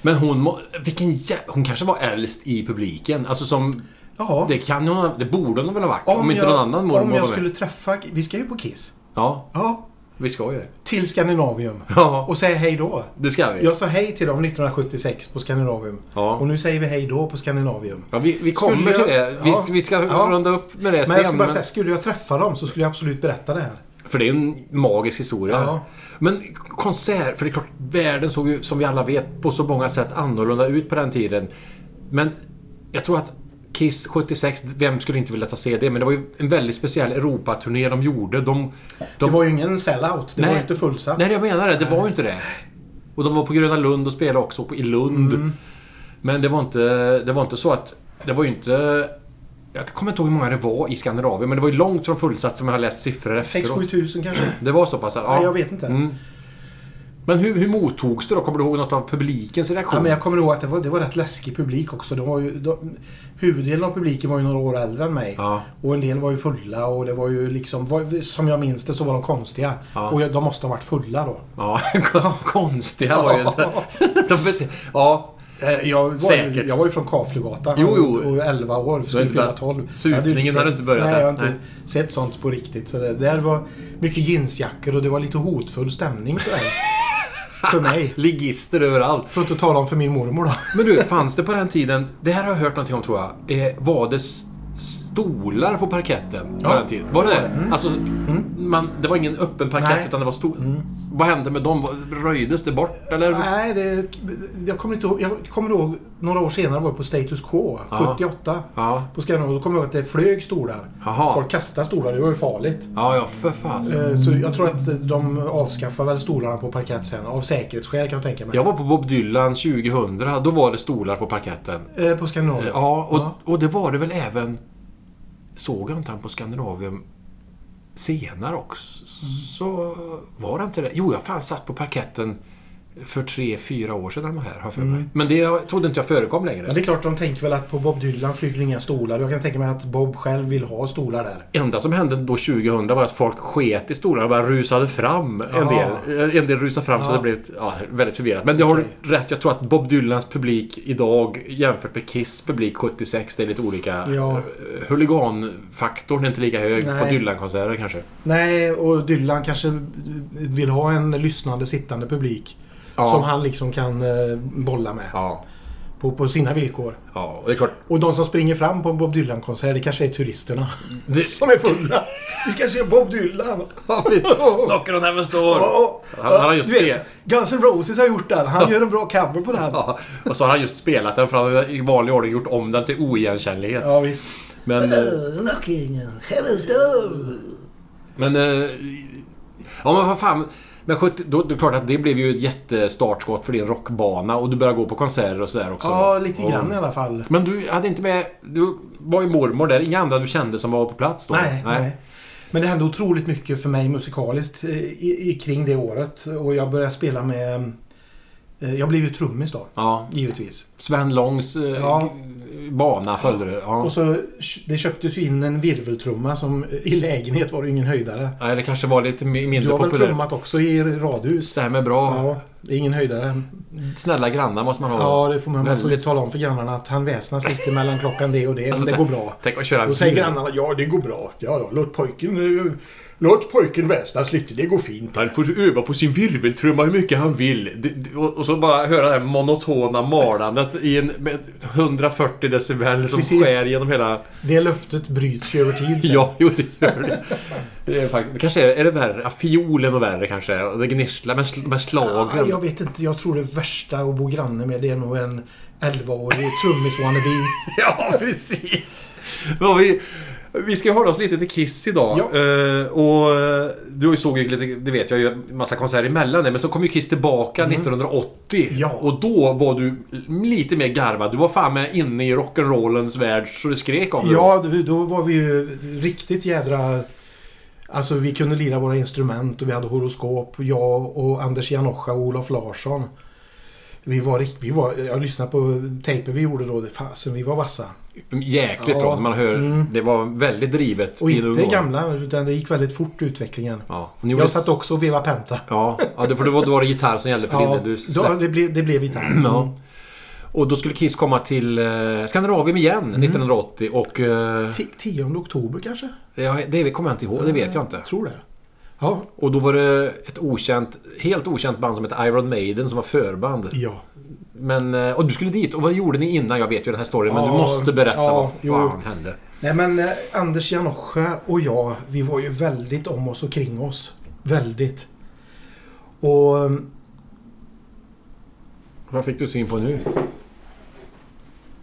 Speaker 2: Men hon, må- vilken jä... hon kanske var äldst i publiken. Alltså som...
Speaker 3: Ja.
Speaker 2: Det kan hon ha- Det borde hon väl ha varit? Om, inte någon annan mormor
Speaker 3: Om
Speaker 2: var
Speaker 3: jag
Speaker 2: med.
Speaker 3: skulle träffa... Vi ska ju på Kiss.
Speaker 2: Ja,
Speaker 3: Ja.
Speaker 2: vi ska ju det.
Speaker 3: Till Skandinavium.
Speaker 2: Ja,
Speaker 3: Och säga hej då.
Speaker 2: det ska vi.
Speaker 3: Jag sa hej till dem 1976 på Skandinavium.
Speaker 2: Ja.
Speaker 3: Och nu säger vi hej då på Skandinavium.
Speaker 2: Ja, vi, vi kommer
Speaker 3: Skulle
Speaker 2: till
Speaker 3: jag-
Speaker 2: det. Vi,
Speaker 3: Ja.
Speaker 2: vi ska
Speaker 3: Ja.
Speaker 2: runda upp med det
Speaker 3: Men jag
Speaker 2: sen.
Speaker 3: skulle bara
Speaker 2: Men,
Speaker 3: säga, skulle jag träffa dem så skulle jag absolut berätta det här.
Speaker 2: för det är en magisk historia.
Speaker 3: Ja.
Speaker 2: Men konsert, för det är klart, världen såg ju som vi alla vet på så många sätt annorlunda ut på den tiden. Men jag tror att Kiss 76, vem skulle inte vilja ta se det? Men det var ju en väldigt speciell Europaturné de gjorde. De, de,
Speaker 3: Det var ju ingen sellout. Det var
Speaker 2: Nej.
Speaker 3: ju inte fullsatt.
Speaker 2: Nej, jag menar det. Det var ju inte det. Och de var på Gröna Lund och spelade också på, i Lund.
Speaker 3: Mm.
Speaker 2: Men det var, inte, det var inte så att... Det var ju inte... Jag kommer inte ihåg hur många det var i Skandinavien, men det var ju långt från fullsatt som jag har läst siffror
Speaker 3: 6-7
Speaker 2: efteråt.
Speaker 3: tusen kanske.
Speaker 2: Det var så pass? Ja.
Speaker 3: Nej, jag vet inte.
Speaker 2: Mm. Men hur, hur mottogs det då? Kommer du ihåg något av publikens reaktion?
Speaker 3: Ja, men jag kommer ihåg att det var, det var rätt läskig publik också. Det var ju, de, huvuddelen av publiken var ju några år äldre än mig.
Speaker 2: Ja.
Speaker 3: Och en del var ju fulla och det var ju liksom... Var, som jag minns det så var de konstiga.
Speaker 2: Ja.
Speaker 3: Och jag- de måste ha varit fulla då.
Speaker 2: Ja, konstiga var ju... de bete- ja.
Speaker 3: Eh, Jag var,
Speaker 2: Säkert.
Speaker 3: Ju, jag var ju från Kaflugatan
Speaker 2: Jo, jo.
Speaker 3: och 11 år. Skulle
Speaker 2: inte
Speaker 3: fylla
Speaker 2: börjat-
Speaker 3: 12.
Speaker 2: Supningen
Speaker 3: Jag ju
Speaker 2: hade
Speaker 3: sett-
Speaker 2: inte börjat
Speaker 3: Nej,
Speaker 2: än.
Speaker 3: jag har inte
Speaker 2: Nej.
Speaker 3: sett sånt på riktigt. Så det, där var mycket jeansjackor och det var lite hotfull stämning sådär. för mig.
Speaker 2: Ligister överallt.
Speaker 3: För att inte tala om för min mormor då.
Speaker 2: Men du, fanns det på den tiden, det här har jag hört någonting om tror jag, eh, var det s- stolar på parketten på
Speaker 3: Ja, Mm.
Speaker 2: den tiden? Var det det? Alltså, man, det var ingen öppen parkett
Speaker 3: Nej. Mm.
Speaker 2: utan det var stor. Vad hände med dem? Var- Röjdes det bort eller?
Speaker 3: Nej, det, jag, kommer inte ihåg, jag kommer ihåg några år senare var jag på Status Quo.
Speaker 2: Ja.
Speaker 3: 78.
Speaker 2: Ja.
Speaker 3: På Skandinavien. Då kommer jag ihåg att det flög stolar.
Speaker 2: Jaha.
Speaker 3: Folk kastade stolar. Det var ju farligt.
Speaker 2: Ja, ja, för fasen.
Speaker 3: Eh, Så jag tror att de avskaffade väl stolarna på parkett sen. Av säkerhetsskäl kan jag tänka mig.
Speaker 2: Jag var på Bob Dylan 2000, då var det stolar på parketten.
Speaker 3: Eh, På Skandinavien?
Speaker 2: Ja, och,
Speaker 3: Ja.
Speaker 2: och det var det väl även... Såg jag inte han på Skandinavium senare också? Så var det inte det? Jo, jag fan satt på parketten för tre, fyra år sedan han var här, har jag för mig. Men det trodde inte jag förekom längre.
Speaker 3: Men det är klart, de tänker väl att på Bob Dylan flyger inga stolar. Jag kan tänka mig att Bob själv vill ha stolar där.
Speaker 2: enda som hände då 2000 var att folk sket i stolarna och bara rusade fram. En
Speaker 3: Ja.
Speaker 2: del, Eh, en del rusade fram så
Speaker 3: Ja.
Speaker 2: det blev ja, väldigt förvirrat. Men jag har
Speaker 3: Okej.
Speaker 2: rätt. Jag tror att Bob Dylans publik idag jämfört med Kiss publik 76, det är lite olika.
Speaker 3: Ja.
Speaker 2: Eh, Huliganfaktorn är inte lika hög på
Speaker 3: Nej.
Speaker 2: Dylan-konserter kanske.
Speaker 3: Nej, och Dylan kanske vill ha en lyssnande, sittande publik.
Speaker 2: Ja.
Speaker 3: Som han liksom kan eh, bolla med.
Speaker 2: Ja.
Speaker 3: På, på sina villkor.
Speaker 2: Ja, och det är klart.
Speaker 3: Och de som springer fram på en Bob Dylan-konsert, det kanske är turisterna.
Speaker 2: Det-
Speaker 3: Som är fulla. Vi ska se Bob Dylan!
Speaker 2: Knocker on heaven står. Han, han har just
Speaker 3: Du
Speaker 2: spelat.
Speaker 3: vet, Guns N' Roses har gjort den. Han gör en bra cover på den.
Speaker 2: Ja, och så har han just spelat den för han har i vanlig ordning gjort om den till oigenkännlighet.
Speaker 3: Ja, visst.
Speaker 2: Men... eh,
Speaker 3: Knocking on heaven's door.
Speaker 2: Men... eh, Ja men vad fan. Men 70, då, det är klart att det blev ju ett jättestartskott för din rockbana och du började gå på konserter och sådär också.
Speaker 3: Ja, lite
Speaker 2: Och-
Speaker 3: grann i alla fall.
Speaker 2: Men du hade inte med... Du var ju mormor där. Inga andra du kände som var på plats då?
Speaker 3: Nej, nej. Men det hände otroligt mycket för mig musikaliskt eh, i, i, kring det året. Och jag började spela med... eh, Jag blev ju trummis då,
Speaker 2: Ja.
Speaker 3: givetvis.
Speaker 2: Sven Långs eh,
Speaker 3: Ja.
Speaker 2: g- bana följde du? Ja.
Speaker 3: Och så, det köptes ju in en virveltrumma som i lägenhet var det ju ingen höjdare.
Speaker 2: Nej, det kanske var lite mi-
Speaker 3: Du
Speaker 2: mindre
Speaker 3: har väl
Speaker 2: populärt.
Speaker 3: trummat också i radhus?
Speaker 2: Stämmer bra.
Speaker 3: Ja, det är ingen höjdare.
Speaker 2: Snälla grannar måste man ha.
Speaker 3: Ja, det får man, man får ju
Speaker 2: väldigt-
Speaker 3: tala om för grannarna att han väsnas lite mellan klockan Alltså, det och det, men det går bra.
Speaker 2: Alltså, Tänk att köra
Speaker 3: Då säger
Speaker 2: bil.
Speaker 3: grannarna ja, det går bra. Ja då, låt pojken nu
Speaker 4: Låt pojken väsnas lite, det går fint.
Speaker 2: Han får öva på sin virveltrumma hur mycket han vill. Det- det- Och och så bara höra det här monotona malandet i en med 140 decibel som
Speaker 3: Precis.
Speaker 2: skär genom hela...
Speaker 3: Det löftet bryts ju över tid sen.
Speaker 2: Ja, jo, det gör det. det är faktiskt, kanske är, är det värre. Ja, Fiolen och värre kanske. Och Det gnisslar med, sl- med
Speaker 3: Ja,
Speaker 2: slagen.
Speaker 3: Ah, jag vet inte, jag tror det värsta att bo granne med det är nog en 11-årig trummis-wannabe.
Speaker 2: Ja, precis! Vad vi, vi ska ju hålla oss lite till Kiss idag.
Speaker 3: Ja.
Speaker 2: Eh, och eh, du såg ju lite, det vet jag ju, en massa konserter emellan det. Men så kom ju Kiss tillbaka 1980.
Speaker 3: Mm. Ja.
Speaker 2: Och då var du lite mer garvad. Du var fan med inne i rock'n'rollens värld så det skrek om det.
Speaker 3: Ja, då- då var vi ju riktigt jädra... Alltså vi kunde lira våra instrument och vi hade horoskop. Jag och Anders Janocha och Olof Larsson. Vi var rikt- vi var, Jag lyssnade på tejper vi gjorde då. Fasen, vi var vassa.
Speaker 2: Jäkligt
Speaker 3: Ja.
Speaker 2: bra när man hör.
Speaker 3: Mm.
Speaker 2: Det var väldigt drivet
Speaker 3: Och
Speaker 2: i en ung
Speaker 3: inte
Speaker 2: ålder.
Speaker 3: gamla, utan det gick väldigt fort utvecklingen.
Speaker 2: Ja. och ni gjorde
Speaker 3: Jag satt också och vevade penta.
Speaker 2: Ja, ja det, för det var, då var det gitarr som gällde för din
Speaker 3: Ja,
Speaker 2: del. Du
Speaker 3: då,
Speaker 2: släppte.
Speaker 3: det, blev, det blev gitarr.
Speaker 2: Ja. Och då skulle Kiss komma till eh, Skandinavien igen 1980 och... Eh,
Speaker 3: Mm. Ti- 10 oktober kanske?
Speaker 2: ja, det kommer jag inte ihåg, det vet jag inte.
Speaker 3: Tror det. Ja.
Speaker 2: Och då var det ett okänt, helt okänt band som hette Iron Maiden som var förband.
Speaker 3: Ja.
Speaker 2: Men, eh, och du skulle dit och vad gjorde ni innan? Jag vet ju den här storyn men du
Speaker 3: Ja,
Speaker 2: måste berätta
Speaker 3: ja,
Speaker 2: vad fan
Speaker 3: jo.
Speaker 2: hände.
Speaker 3: Nej men eh, Anders Janocha och jag, vi var ju väldigt om oss och kring oss. Väldigt. Och eh,
Speaker 2: Vad fick du syn på nu?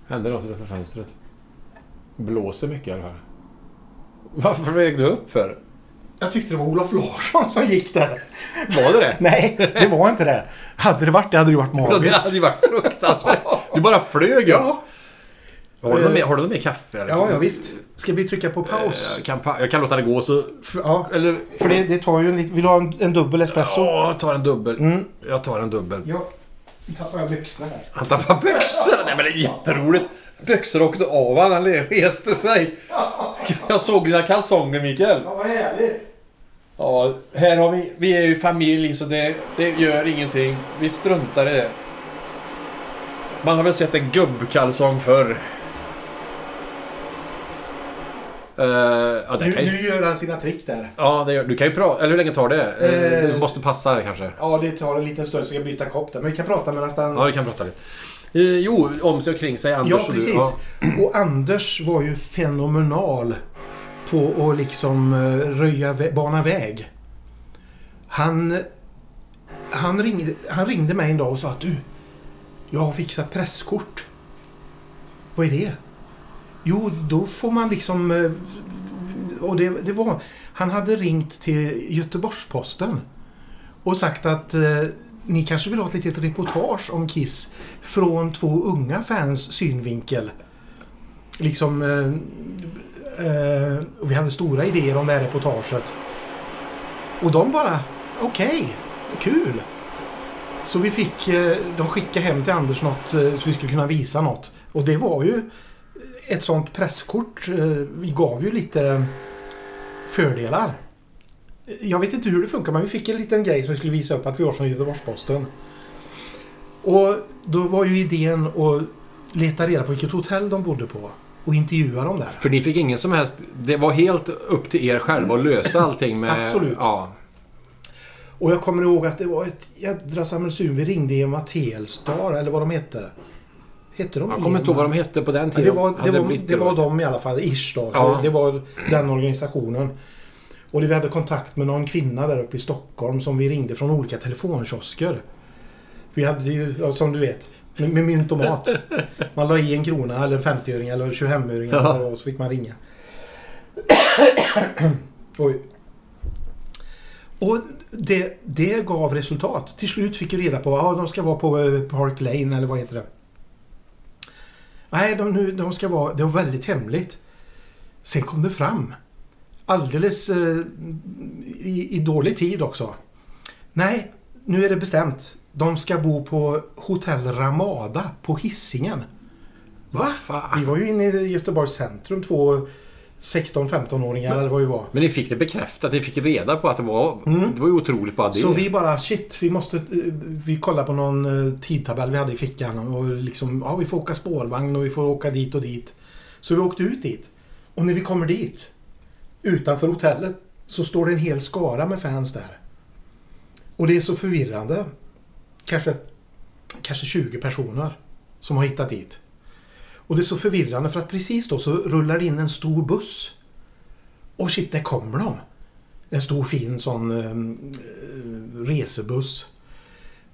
Speaker 2: Hände något utanför fönstret? Blåser mycket eller? vad? Varför flög du upp för?
Speaker 3: jag tyckte det var Olof Larsson som gick där.
Speaker 2: Var det det?
Speaker 3: Nej, det var inte det. Hade det varit det hade det varit
Speaker 2: Ja, Det
Speaker 3: magiskt.
Speaker 2: hade ju varit fruktansvärt. Eh. Du bara flög upp. Har du något mer, har du något mer kaffe? Eller?
Speaker 3: Ja, ja visst. Ska vi trycka på paus?
Speaker 2: Jag kan, pa- jag kan låta det gå så...
Speaker 3: För, ja,
Speaker 2: Eller...
Speaker 3: för det, det tar ju en liten... Vill du ha en, en dubbel espresso?
Speaker 2: Ja, jag tar en dubbel.
Speaker 3: Mm.
Speaker 2: Jag tar en dubbel.
Speaker 3: Ja. Nu tappar jag byxorna här.
Speaker 2: Han tappade byxorna! Nej men det är jätteroligt! Byxor åkte av han, han reste sig. Jag såg dina kalsonger Mikael.
Speaker 3: Ja, vad härligt.
Speaker 2: Ja, här har vi... Vi är ju familj så det, det gör ingenting. Vi struntar i det. Man har väl sett en gubbkalsong förr. Eh, ja, det
Speaker 3: Nu,
Speaker 2: kan ju...
Speaker 3: nu gör han sina trick där.
Speaker 2: Ja, det gör, du kan ju prata. Eller hur länge tar det? Eh,
Speaker 3: Eh.
Speaker 2: Du måste passa det kanske.
Speaker 3: Ja, det tar en liten stund så jag byta kopp där. Men vi kan prata medan han...
Speaker 2: Ja, vi kan prata lite. Eh, jo, om sig och kring sig. Anders
Speaker 3: Ja,
Speaker 2: och
Speaker 3: precis.
Speaker 2: Du, ja.
Speaker 3: Och Anders var ju fenomenal på att liksom eh, röja, vä- bana väg. Han, han, ringde, han ringde mig en dag och sa att du, jag har fixat presskort. Vad är det? Jo, då får man liksom... eh, Och det, det var... Han hade ringt till Göteborgs-Posten och sagt att eh, ni kanske vill ha ett litet reportage om Kiss från två unga fans synvinkel. Liksom... Eh, eh, och vi hade stora idéer om det här reportaget. Och de bara, okej, kul. Så vi fick, eh, de skickade hem till Anders något eh, så vi skulle kunna visa något. Och det var ju ett sånt presskort. eh, Vi gav ju lite fördelar. Jag vet inte hur det funkar men vi fick en liten grej som vi skulle visa upp att vi var från Göteborgs-Posten. Och då var ju idén att leta reda på vilket hotell de bodde på och intervjua dem där.
Speaker 2: För ni fick ingen som helst... Det var helt upp till er själva att lösa allting med...
Speaker 3: Absolut.
Speaker 2: Ja.
Speaker 3: Och jag kommer ihåg att det var ett jädra sammelsurium. Vi ringde EMA Telstar eller vad de hette. Hette de
Speaker 2: Jag kommer inte ihåg vad de hette på den
Speaker 3: Ja,
Speaker 2: tiden.
Speaker 3: det, var, det,
Speaker 2: Hade
Speaker 3: var,
Speaker 2: blivit-
Speaker 3: det var de i alla fall, ish då.
Speaker 2: Ja.
Speaker 3: Det, det var den organisationen. Och det, vi hade kontakt med någon kvinna där uppe i Stockholm som vi ringde från olika telefonkiosker. Vi hade ju, ja, som du vet, med, med mynt och mat. Man la i en krona eller en 50-öring eller en 25-öring eller vad det var, och så fick man ringa. Oj. Och det, det gav resultat. Till slut fick vi reda på att de ska vara på eh, Park Lane eller vad heter det. Nej, de, nu, de ska vara... Det var väldigt hemligt. Sen kom det fram. Alldeles eh, i, i dålig tid också. Nej, nu är det bestämt. De ska bo på Hotell Ramada på Hisingen. Va?
Speaker 2: fan?
Speaker 3: Vi var ju inne i Göteborgs centrum, två 16-15-åringar eller vad vi var.
Speaker 2: Men ni fick det bekräftat. Ni fick reda på att det var... Det var ju otroligt bara det.
Speaker 3: Mm. Så vi bara shit, vi måste... eh, Vi kollade på någon eh, tidtabell vi hade i fickan och liksom, ja vi får åka spårvagn och vi får åka dit och dit. Så vi åkte ut dit. Och när vi kommer dit, utanför hotellet, så står det en hel skara med fans där. Och det är så förvirrande. Kanske, kanske 20 personer som har hittat dit. Och det är så förvirrande för att precis då så rullar det in en stor buss. Och shit, där kommer de! En stor fin sån eh, resebuss.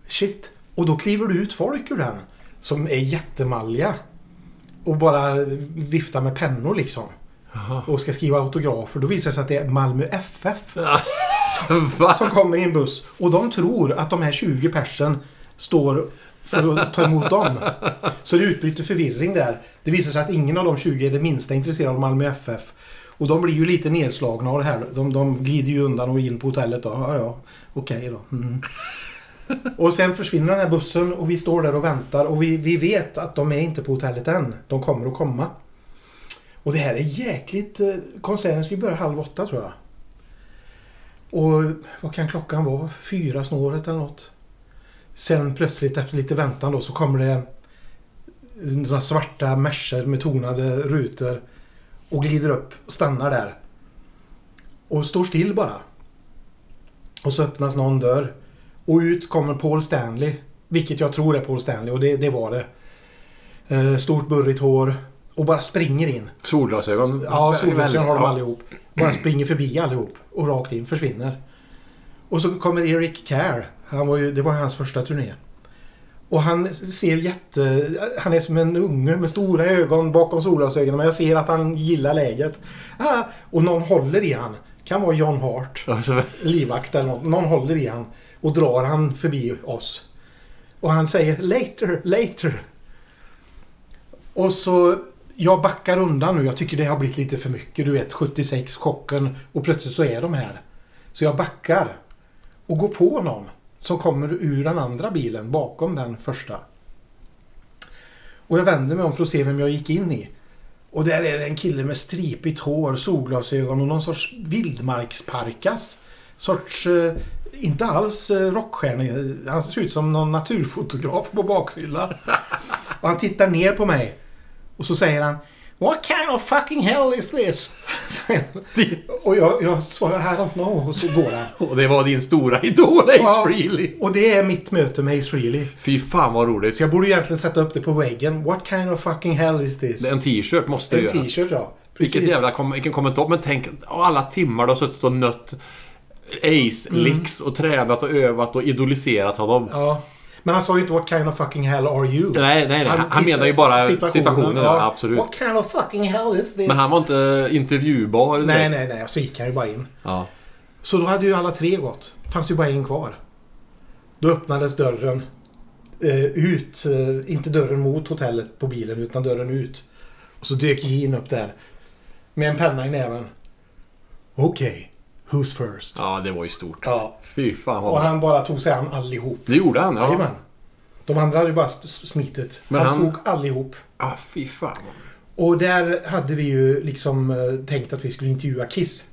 Speaker 3: Shit! Och då kliver du ut folk ur den som är jättemalliga. Och bara viftar med pennor liksom. Och ska skriva autografer. Då visar det sig att det är Malmö FF
Speaker 2: Va?
Speaker 3: som kommer i en buss. Och de tror att de här 20 persen står för att ta emot dem. Så det utbryter förvirring där. Det visar sig att ingen av de 20 är det minsta intresserad av Malmö FF. Och de blir ju lite nedslagna av det här. De, de glider ju undan och in på hotellet då. Ja, ja. Okej då. Mm. Och sen försvinner den här bussen och vi står där och väntar och vi, vi vet att de är inte på hotellet än. De kommer att komma. Och det här är jäkligt... eh, Konserten skulle börja halv åtta tror jag. Och vad kan klockan vara? Fyra snåret eller något. Sen plötsligt efter lite väntan då så kommer det några svarta Mercer med tonade rutor och glider upp och stannar där. Och står still bara. Och så öppnas någon dörr. Och ut kommer Paul Stanley. Vilket jag tror är Paul Stanley och det, det var det. Eh, Stort burrigt hår. Och bara springer in.
Speaker 2: Solglasögon?
Speaker 3: Ja, solglasögon har de
Speaker 2: Alltså, Ja.
Speaker 3: allihop. Bara springer förbi allihop och rakt in, försvinner. Och så kommer Eric Care. Han var ju, det var ju hans första turné. Och han ser jätte... Han är som en unge med stora ögon bakom solglasögonen. Men jag ser att han gillar läget. Ah, och någon håller i han. Kan vara John Hart
Speaker 2: Alltså,
Speaker 3: livvakt eller något. Någon håller i han och drar han förbi oss. Och han säger later, later. Och så jag backar undan nu. Jag tycker det har blivit lite för mycket. Du vet 76 chocken och plötsligt så är de här. Så jag backar och går på någon som kommer ur den andra bilen bakom den första. Och jag vänder mig om för att se vem jag gick in i. Och där är det en kille med stripigt hår, solglasögon och någon sorts vildmarksparkas. Sorts, eh, inte alls eh, rockstjärna. Han ser ut som någon naturfotograf på bakfylla. Och han tittar ner på mig. Och så säger han What kind of fucking hell is this? Säger han. och jag, jag svarar I don't know. Och så går han.
Speaker 2: och det var din stora idol Ace
Speaker 3: Ja.
Speaker 2: Frehley.
Speaker 3: Och det är mitt möte med Ace Frehley.
Speaker 2: Fy fan vad roligt.
Speaker 3: Så jag borde egentligen sätta upp det på väggen. What kind of fucking hell is this?
Speaker 2: En t-shirt måste
Speaker 3: En
Speaker 2: det göras.
Speaker 3: t-shirt ja. Precis.
Speaker 2: Vilket jävla kom, vilken kommentar. Men tänk och alla timmar du har suttit och nött Ace, Lix och tränat och övat och idoliserat honom.
Speaker 3: Mm. Ja. Men han sa ju inte What kind of fucking hell are you?
Speaker 2: Nej, nej, nej. Han,
Speaker 3: tittar-
Speaker 2: menar ju bara situationen. ja, absolut.
Speaker 3: What kind of fucking hell is this?
Speaker 2: Men han var inte intervjubar direkt.
Speaker 3: Nej, nej, nej. Så gick han ju bara in.
Speaker 2: Ja.
Speaker 3: Så då hade ju alla tre gått. fanns det ju bara en kvar. Då öppnades dörren eh, ut. Eh, inte dörren mot hotellet på bilen, utan dörren ut. Och så dök Jean upp där. Med en penna i näven. Okej, who's first?
Speaker 2: ja, det var ju stort.
Speaker 3: Ja.
Speaker 2: Fy fan vad
Speaker 3: Och
Speaker 2: bra.
Speaker 3: han bara tog sig an allihop.
Speaker 2: Det gjorde han? Ja.
Speaker 3: Jajamän. De andra hade ju bara s- s- smitit.
Speaker 2: Men
Speaker 3: Han,
Speaker 2: han-
Speaker 3: tog allihop.
Speaker 2: ah, fy fan. vad-
Speaker 3: Och där hade vi ju liksom eh, tänkt att vi skulle intervjua Kiss.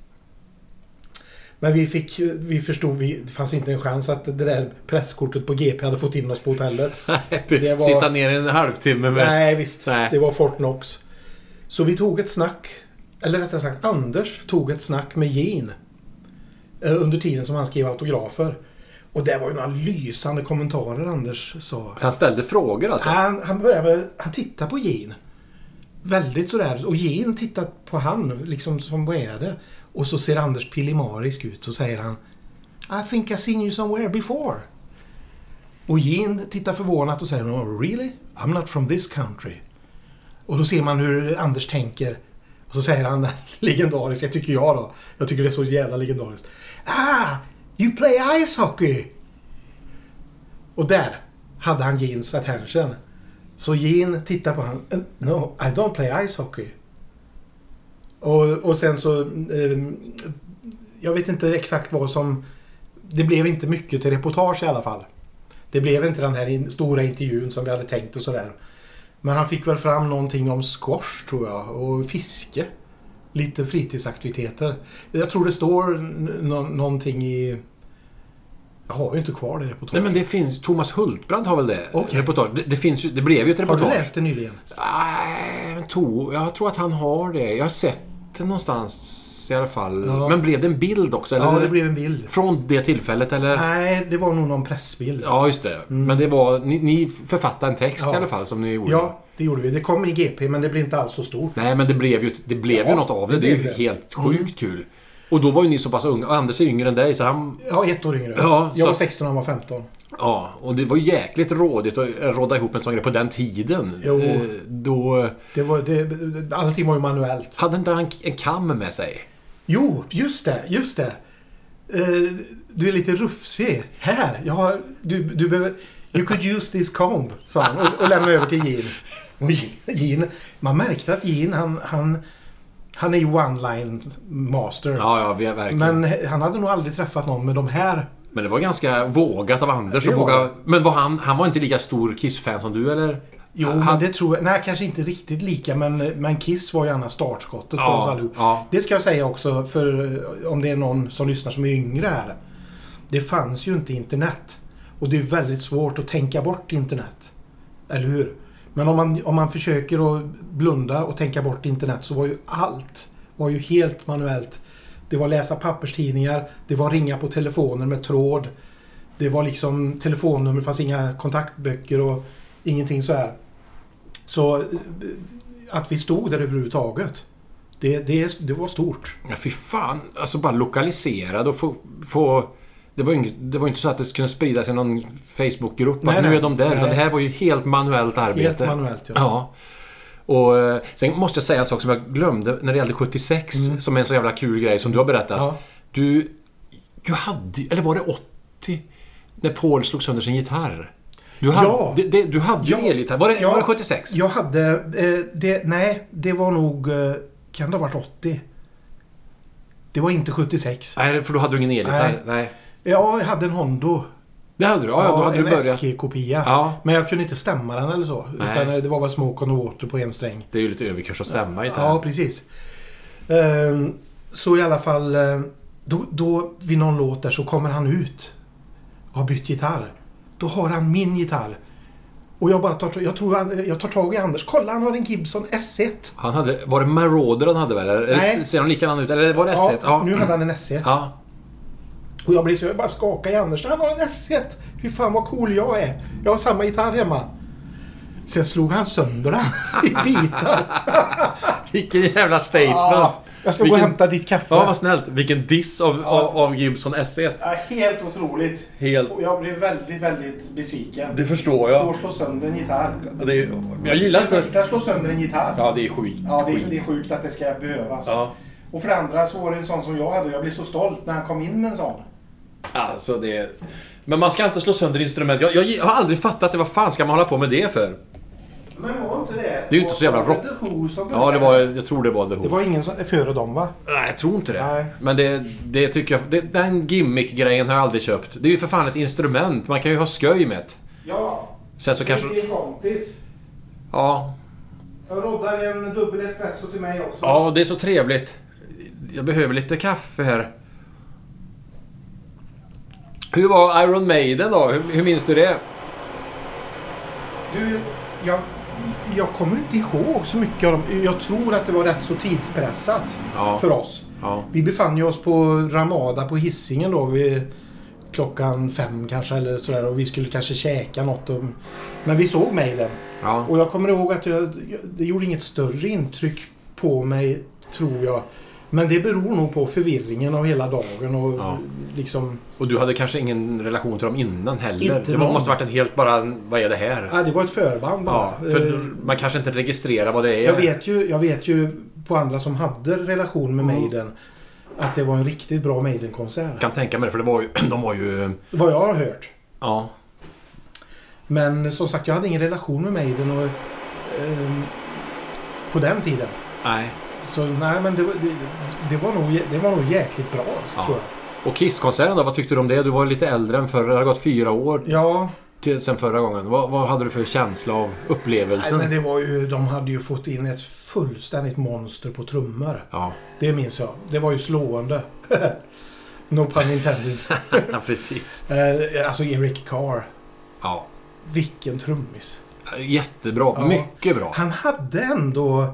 Speaker 3: Men vi fick, eh, vi förstod, vi, det fanns inte en chans att det där presskortet på GP hade fått in oss på hotellet. Det var-
Speaker 2: Sitta ner i en halvtimme med...
Speaker 3: Nej visst,
Speaker 2: Nej.
Speaker 3: det var Fortnox. Så vi tog ett snack, eller rättare sagt Anders tog ett snack med Jean. eh, Under tiden som han skrev autografer. Och det var ju några lysande kommentarer Anders sa.
Speaker 2: Han ställde frågor alltså.
Speaker 3: Han, han börjar med, han tittar på Jean. Väldigt sådär. Och Jean tittar på han, liksom som vad är det? Och så ser Anders pillemarisk ut. Så säger han I think I seen you somewhere before. Och Jean tittar förvånat och säger oh, Really? I'm not from this country. Och då ser man hur Anders tänker. Och så säger han legendariska, tycker jag då. Jag tycker det är så jävla legendariskt. Ah! You play ice hockey! Och där hade han Jeans attention. Så Jean tittar på han. "Eh, No, I don't play ice hockey. Och, och sen så... ehm, jag vet inte exakt vad som... Det blev inte mycket till reportage i alla fall. Det blev inte den här in, stora intervjun som vi hade tänkt och sådär. Men han fick väl fram någonting om squash tror jag och fiske. Lite fritidsaktiviteter. Jag tror det står n- nå- någonting i... Jag har ju inte kvar det reportaget.
Speaker 2: Nej men det finns... Thomas Hultbrand har väl det?
Speaker 3: Okej.
Speaker 2: Reportage. Det, det, finns ju, det blev ju ett
Speaker 3: Har
Speaker 2: reportage.
Speaker 3: du läst det nyligen?
Speaker 2: Nej, men to, jag tror att han har det. Jag har sett det någonstans. minns i alla fall.
Speaker 3: Ja.
Speaker 2: Men blev det en bild också? Eller?
Speaker 3: Ja, det blev en bild.
Speaker 2: Från det tillfället eller?
Speaker 3: Nej, det var nog någon pressbild.
Speaker 2: Ja, just det. Men det var... Ni, ni författade en text
Speaker 3: Ja.
Speaker 2: i alla fall som ni gjorde.
Speaker 3: Ja, det gjorde vi. Det kom i GP, men det blev inte alls så stort.
Speaker 2: Nej, men det blev ju, det blev
Speaker 4: Ja,
Speaker 2: ju något av det.
Speaker 4: det
Speaker 2: Det är ju
Speaker 4: blev det.
Speaker 2: helt sjukt kul. Och då var ju ni så pass unga. Och Anders är yngre än dig, så han...
Speaker 3: Ja, ett år yngre.
Speaker 2: Ja,
Speaker 3: jag
Speaker 2: så-
Speaker 3: var 16 han var 15.
Speaker 2: Ja, och det var ju jäkligt rådigt att råda ihop en sån grej på den tiden.
Speaker 3: Jo.
Speaker 2: Eh, Då...
Speaker 3: Det var, det, allting var ju manuellt.
Speaker 2: Hade inte han en kam med sig?
Speaker 3: Jo, just det, just det. Eh, du är lite rufsig. Här, jag har, du, du behöver... You could use this comb, sa han och, och lämnade över till Jean. Och Jean- Jean, man märkte att Jean, han, han, han är ju one-line master.
Speaker 2: Ja, ja, vi- verkligen. Men,
Speaker 3: Men han hade nog aldrig träffat någon med de här.
Speaker 2: det var ganska vågat av Anders
Speaker 3: Det
Speaker 2: att
Speaker 3: var
Speaker 2: våga... Men var han, han var inte lika stor Kiss-fan som du, eller?
Speaker 3: Jo,
Speaker 2: han,
Speaker 3: men det tror jag. Nej, kanske inte riktigt lika, men, men Kiss var ju annars startskottet för
Speaker 2: Ja,
Speaker 3: oss allihop.
Speaker 2: ja.
Speaker 3: Det ska jag säga också, för eh, om det är någon som lyssnar som är yngre här. Det fanns ju inte internet. Och det är väldigt svårt att tänka bort internet. Eller hur? Men om man, om man försöker att blunda och tänka bort internet så var ju allt var ju helt manuellt. Det var läsa papperstidningar, det var ringa på telefoner med tråd. Det var liksom telefonnummer, det fanns inga kontaktböcker och ingenting så här. Så eh, att vi stod där överhuvudtaget, det, det, det var stort.
Speaker 2: Ja, fy fan. Alltså bara lokaliserad och få... få det var ju inget- det var ju inte så att det kunde spridas i någon Facebookgrupp
Speaker 3: Nej,
Speaker 2: att nu
Speaker 3: nej.
Speaker 2: är de där. Utan
Speaker 3: Nej.
Speaker 2: det här var ju helt manuellt arbete.
Speaker 3: Helt manuellt. Ja.
Speaker 2: Ja. Och eh, sen måste jag säga en sak som jag glömde när det gällde 76. Som är en så jävla kul grej som du har berättat.
Speaker 3: Mm. Ja.
Speaker 2: Du, du hade Eller var det 80? När Paul slog sönder sin gitarr. Du hade,
Speaker 3: Ja.
Speaker 2: det, det, du hade
Speaker 3: Ja.
Speaker 2: ju elgitarr. Var det,
Speaker 3: Ja.
Speaker 2: var det 76?
Speaker 3: Jag hade... Eh, det, nej, det var nog... Eh, kan det ha varit 80? Det var inte 76.
Speaker 2: Nej, för då hade du ingen elgitarr. Nej.
Speaker 3: Nej. Ja, jag hade en Hondo.
Speaker 2: Det hade du. Ja, ja, då hade
Speaker 3: en
Speaker 2: du börjat.
Speaker 3: SG-kopia.
Speaker 2: Ja.
Speaker 3: Men jag kunde inte stämma den eller så.
Speaker 2: Nej.
Speaker 3: Utan eh, det var bara Smoke on the Water på en sträng.
Speaker 2: Det är ju lite överkurs att stämma gitarr.
Speaker 3: Ja, precis. Ehm, Så i alla fall, eh, då, då vid någon låt där så kommer han ut och har bytt gitarr. Då har han min gitarr. Och jag bara tar, jag tror han, jag tar tag i Anders. Kolla, han har en Gibson S1.
Speaker 2: Han hade, var det Marauder han hade väl? Eller
Speaker 3: Nej.
Speaker 2: Ser de likadana ut? Eller var det S1? Ja.
Speaker 3: Nu hade han en S1.
Speaker 2: ja.
Speaker 3: Och jag blir så jag bara skakar i Anders. Han har en S1! Hur fan vad cool jag är! Jag har samma gitarr hemma. Sen slog han sönder den i bitar.
Speaker 2: Vilken jävla statement!
Speaker 3: Ah, jag ska gå
Speaker 2: Vilken-
Speaker 3: och hämta ditt kaffe.
Speaker 2: Ja, vad snällt. Vilken diss av, av, av Gibson E. S1.
Speaker 3: Ja, helt otroligt.
Speaker 2: Helt.
Speaker 3: Och jag blev väldigt, väldigt besviken.
Speaker 2: förstår
Speaker 3: Står slå sönder en gitarr.
Speaker 2: Det är, jag gillar
Speaker 3: För det första slå sönder en gitarr.
Speaker 2: Ja, det är skit.
Speaker 3: Ja, det,
Speaker 2: skit.
Speaker 3: är, det är sjukt att det ska behövas.
Speaker 2: Ja.
Speaker 3: Och för det andra så var det en sån som jag hade och jag blev så stolt när han kom in med en sån.
Speaker 2: Alltså, det är... Men man ska inte slå sönder instrument. Jag, jag, jag har aldrig fattat det. Vad fan ska man hålla på med det för?
Speaker 3: Men var inte det...
Speaker 2: Det är ju inte så jävla
Speaker 3: var
Speaker 2: rock.
Speaker 3: det The Who som
Speaker 2: Ja, det var... Jag tror det var The Who.
Speaker 3: Det var ingen som... Före dem va?
Speaker 2: Nej, jag tror inte det.
Speaker 3: Nej.
Speaker 2: Men det, det tycker jag... Det, den gimmick-grejen har jag aldrig köpt. Det är ju för fan ett instrument. Man kan ju ha skoj med det.
Speaker 3: Ja.
Speaker 2: Sen så kanske...
Speaker 3: Din kompis.
Speaker 2: Ja,
Speaker 3: Jag roddar en dubbel espresso till mig också.
Speaker 2: Ja, det är så trevligt. Jag behöver lite kaffe här. Hur var Iron Maiden då? Hur, hur minns du det?
Speaker 3: Du, jag, jag kommer inte ihåg så mycket av dem. Jag tror att det var rätt så tidspressat
Speaker 2: Ja.
Speaker 3: för oss.
Speaker 2: Ja.
Speaker 3: Vi befann ju oss på Ramada på Hisingen då vid klockan fem kanske eller sådär och vi skulle kanske käka något. Och, men vi såg mejlen.
Speaker 2: Ja.
Speaker 3: Och jag kommer ihåg att jag, jag, det gjorde inget större intryck på mig, tror jag. Men det beror nog på förvirringen av hela dagen och
Speaker 2: Ja.
Speaker 3: liksom...
Speaker 2: Och du hade kanske ingen relation till dem innan heller?
Speaker 3: Inte
Speaker 2: det var-
Speaker 3: någon.
Speaker 2: måste varit en helt bara... Vad är det här?
Speaker 3: Ja, det var ett förband bara.
Speaker 2: Ja, för
Speaker 3: Eh,
Speaker 2: då- man kanske inte registrerar vad det är.
Speaker 3: Jag vet, ju, jag vet ju på andra som hade relation med Maiden att det var en riktigt bra
Speaker 2: Jag
Speaker 3: Maiden-konsert.
Speaker 2: kan tänka mig det, för det var ju, de var ju...
Speaker 3: Vad jag har hört.
Speaker 2: Ja.
Speaker 3: Men som sagt, jag hade ingen relation med Maiden och, ehm, på den tiden.
Speaker 2: Nej.
Speaker 3: Så nej, men det, var- det, det, var, nog, jä- det var nog jäkligt bra,
Speaker 2: Ja.
Speaker 3: tror jag.
Speaker 2: Och Kiss-konserten då? Vad tyckte du om det? Du var lite äldre än förra. Det har gått fyra år
Speaker 3: Ja,
Speaker 2: till, sen förra gången. Vad, vad hade du för känsla av
Speaker 3: nej,
Speaker 2: upplevelsen?
Speaker 3: men det var ju, de hade ju fått in ett fullständigt monster på trummor.
Speaker 2: Ja,
Speaker 3: Det minns jag. Det var ju slående. no pun intended.
Speaker 2: precis.
Speaker 3: Eh, alltså Eric Carr.
Speaker 2: Ja.
Speaker 3: Vilken trummis.
Speaker 2: Jättebra.
Speaker 3: Ja.
Speaker 2: Mycket bra.
Speaker 3: Han hade ändå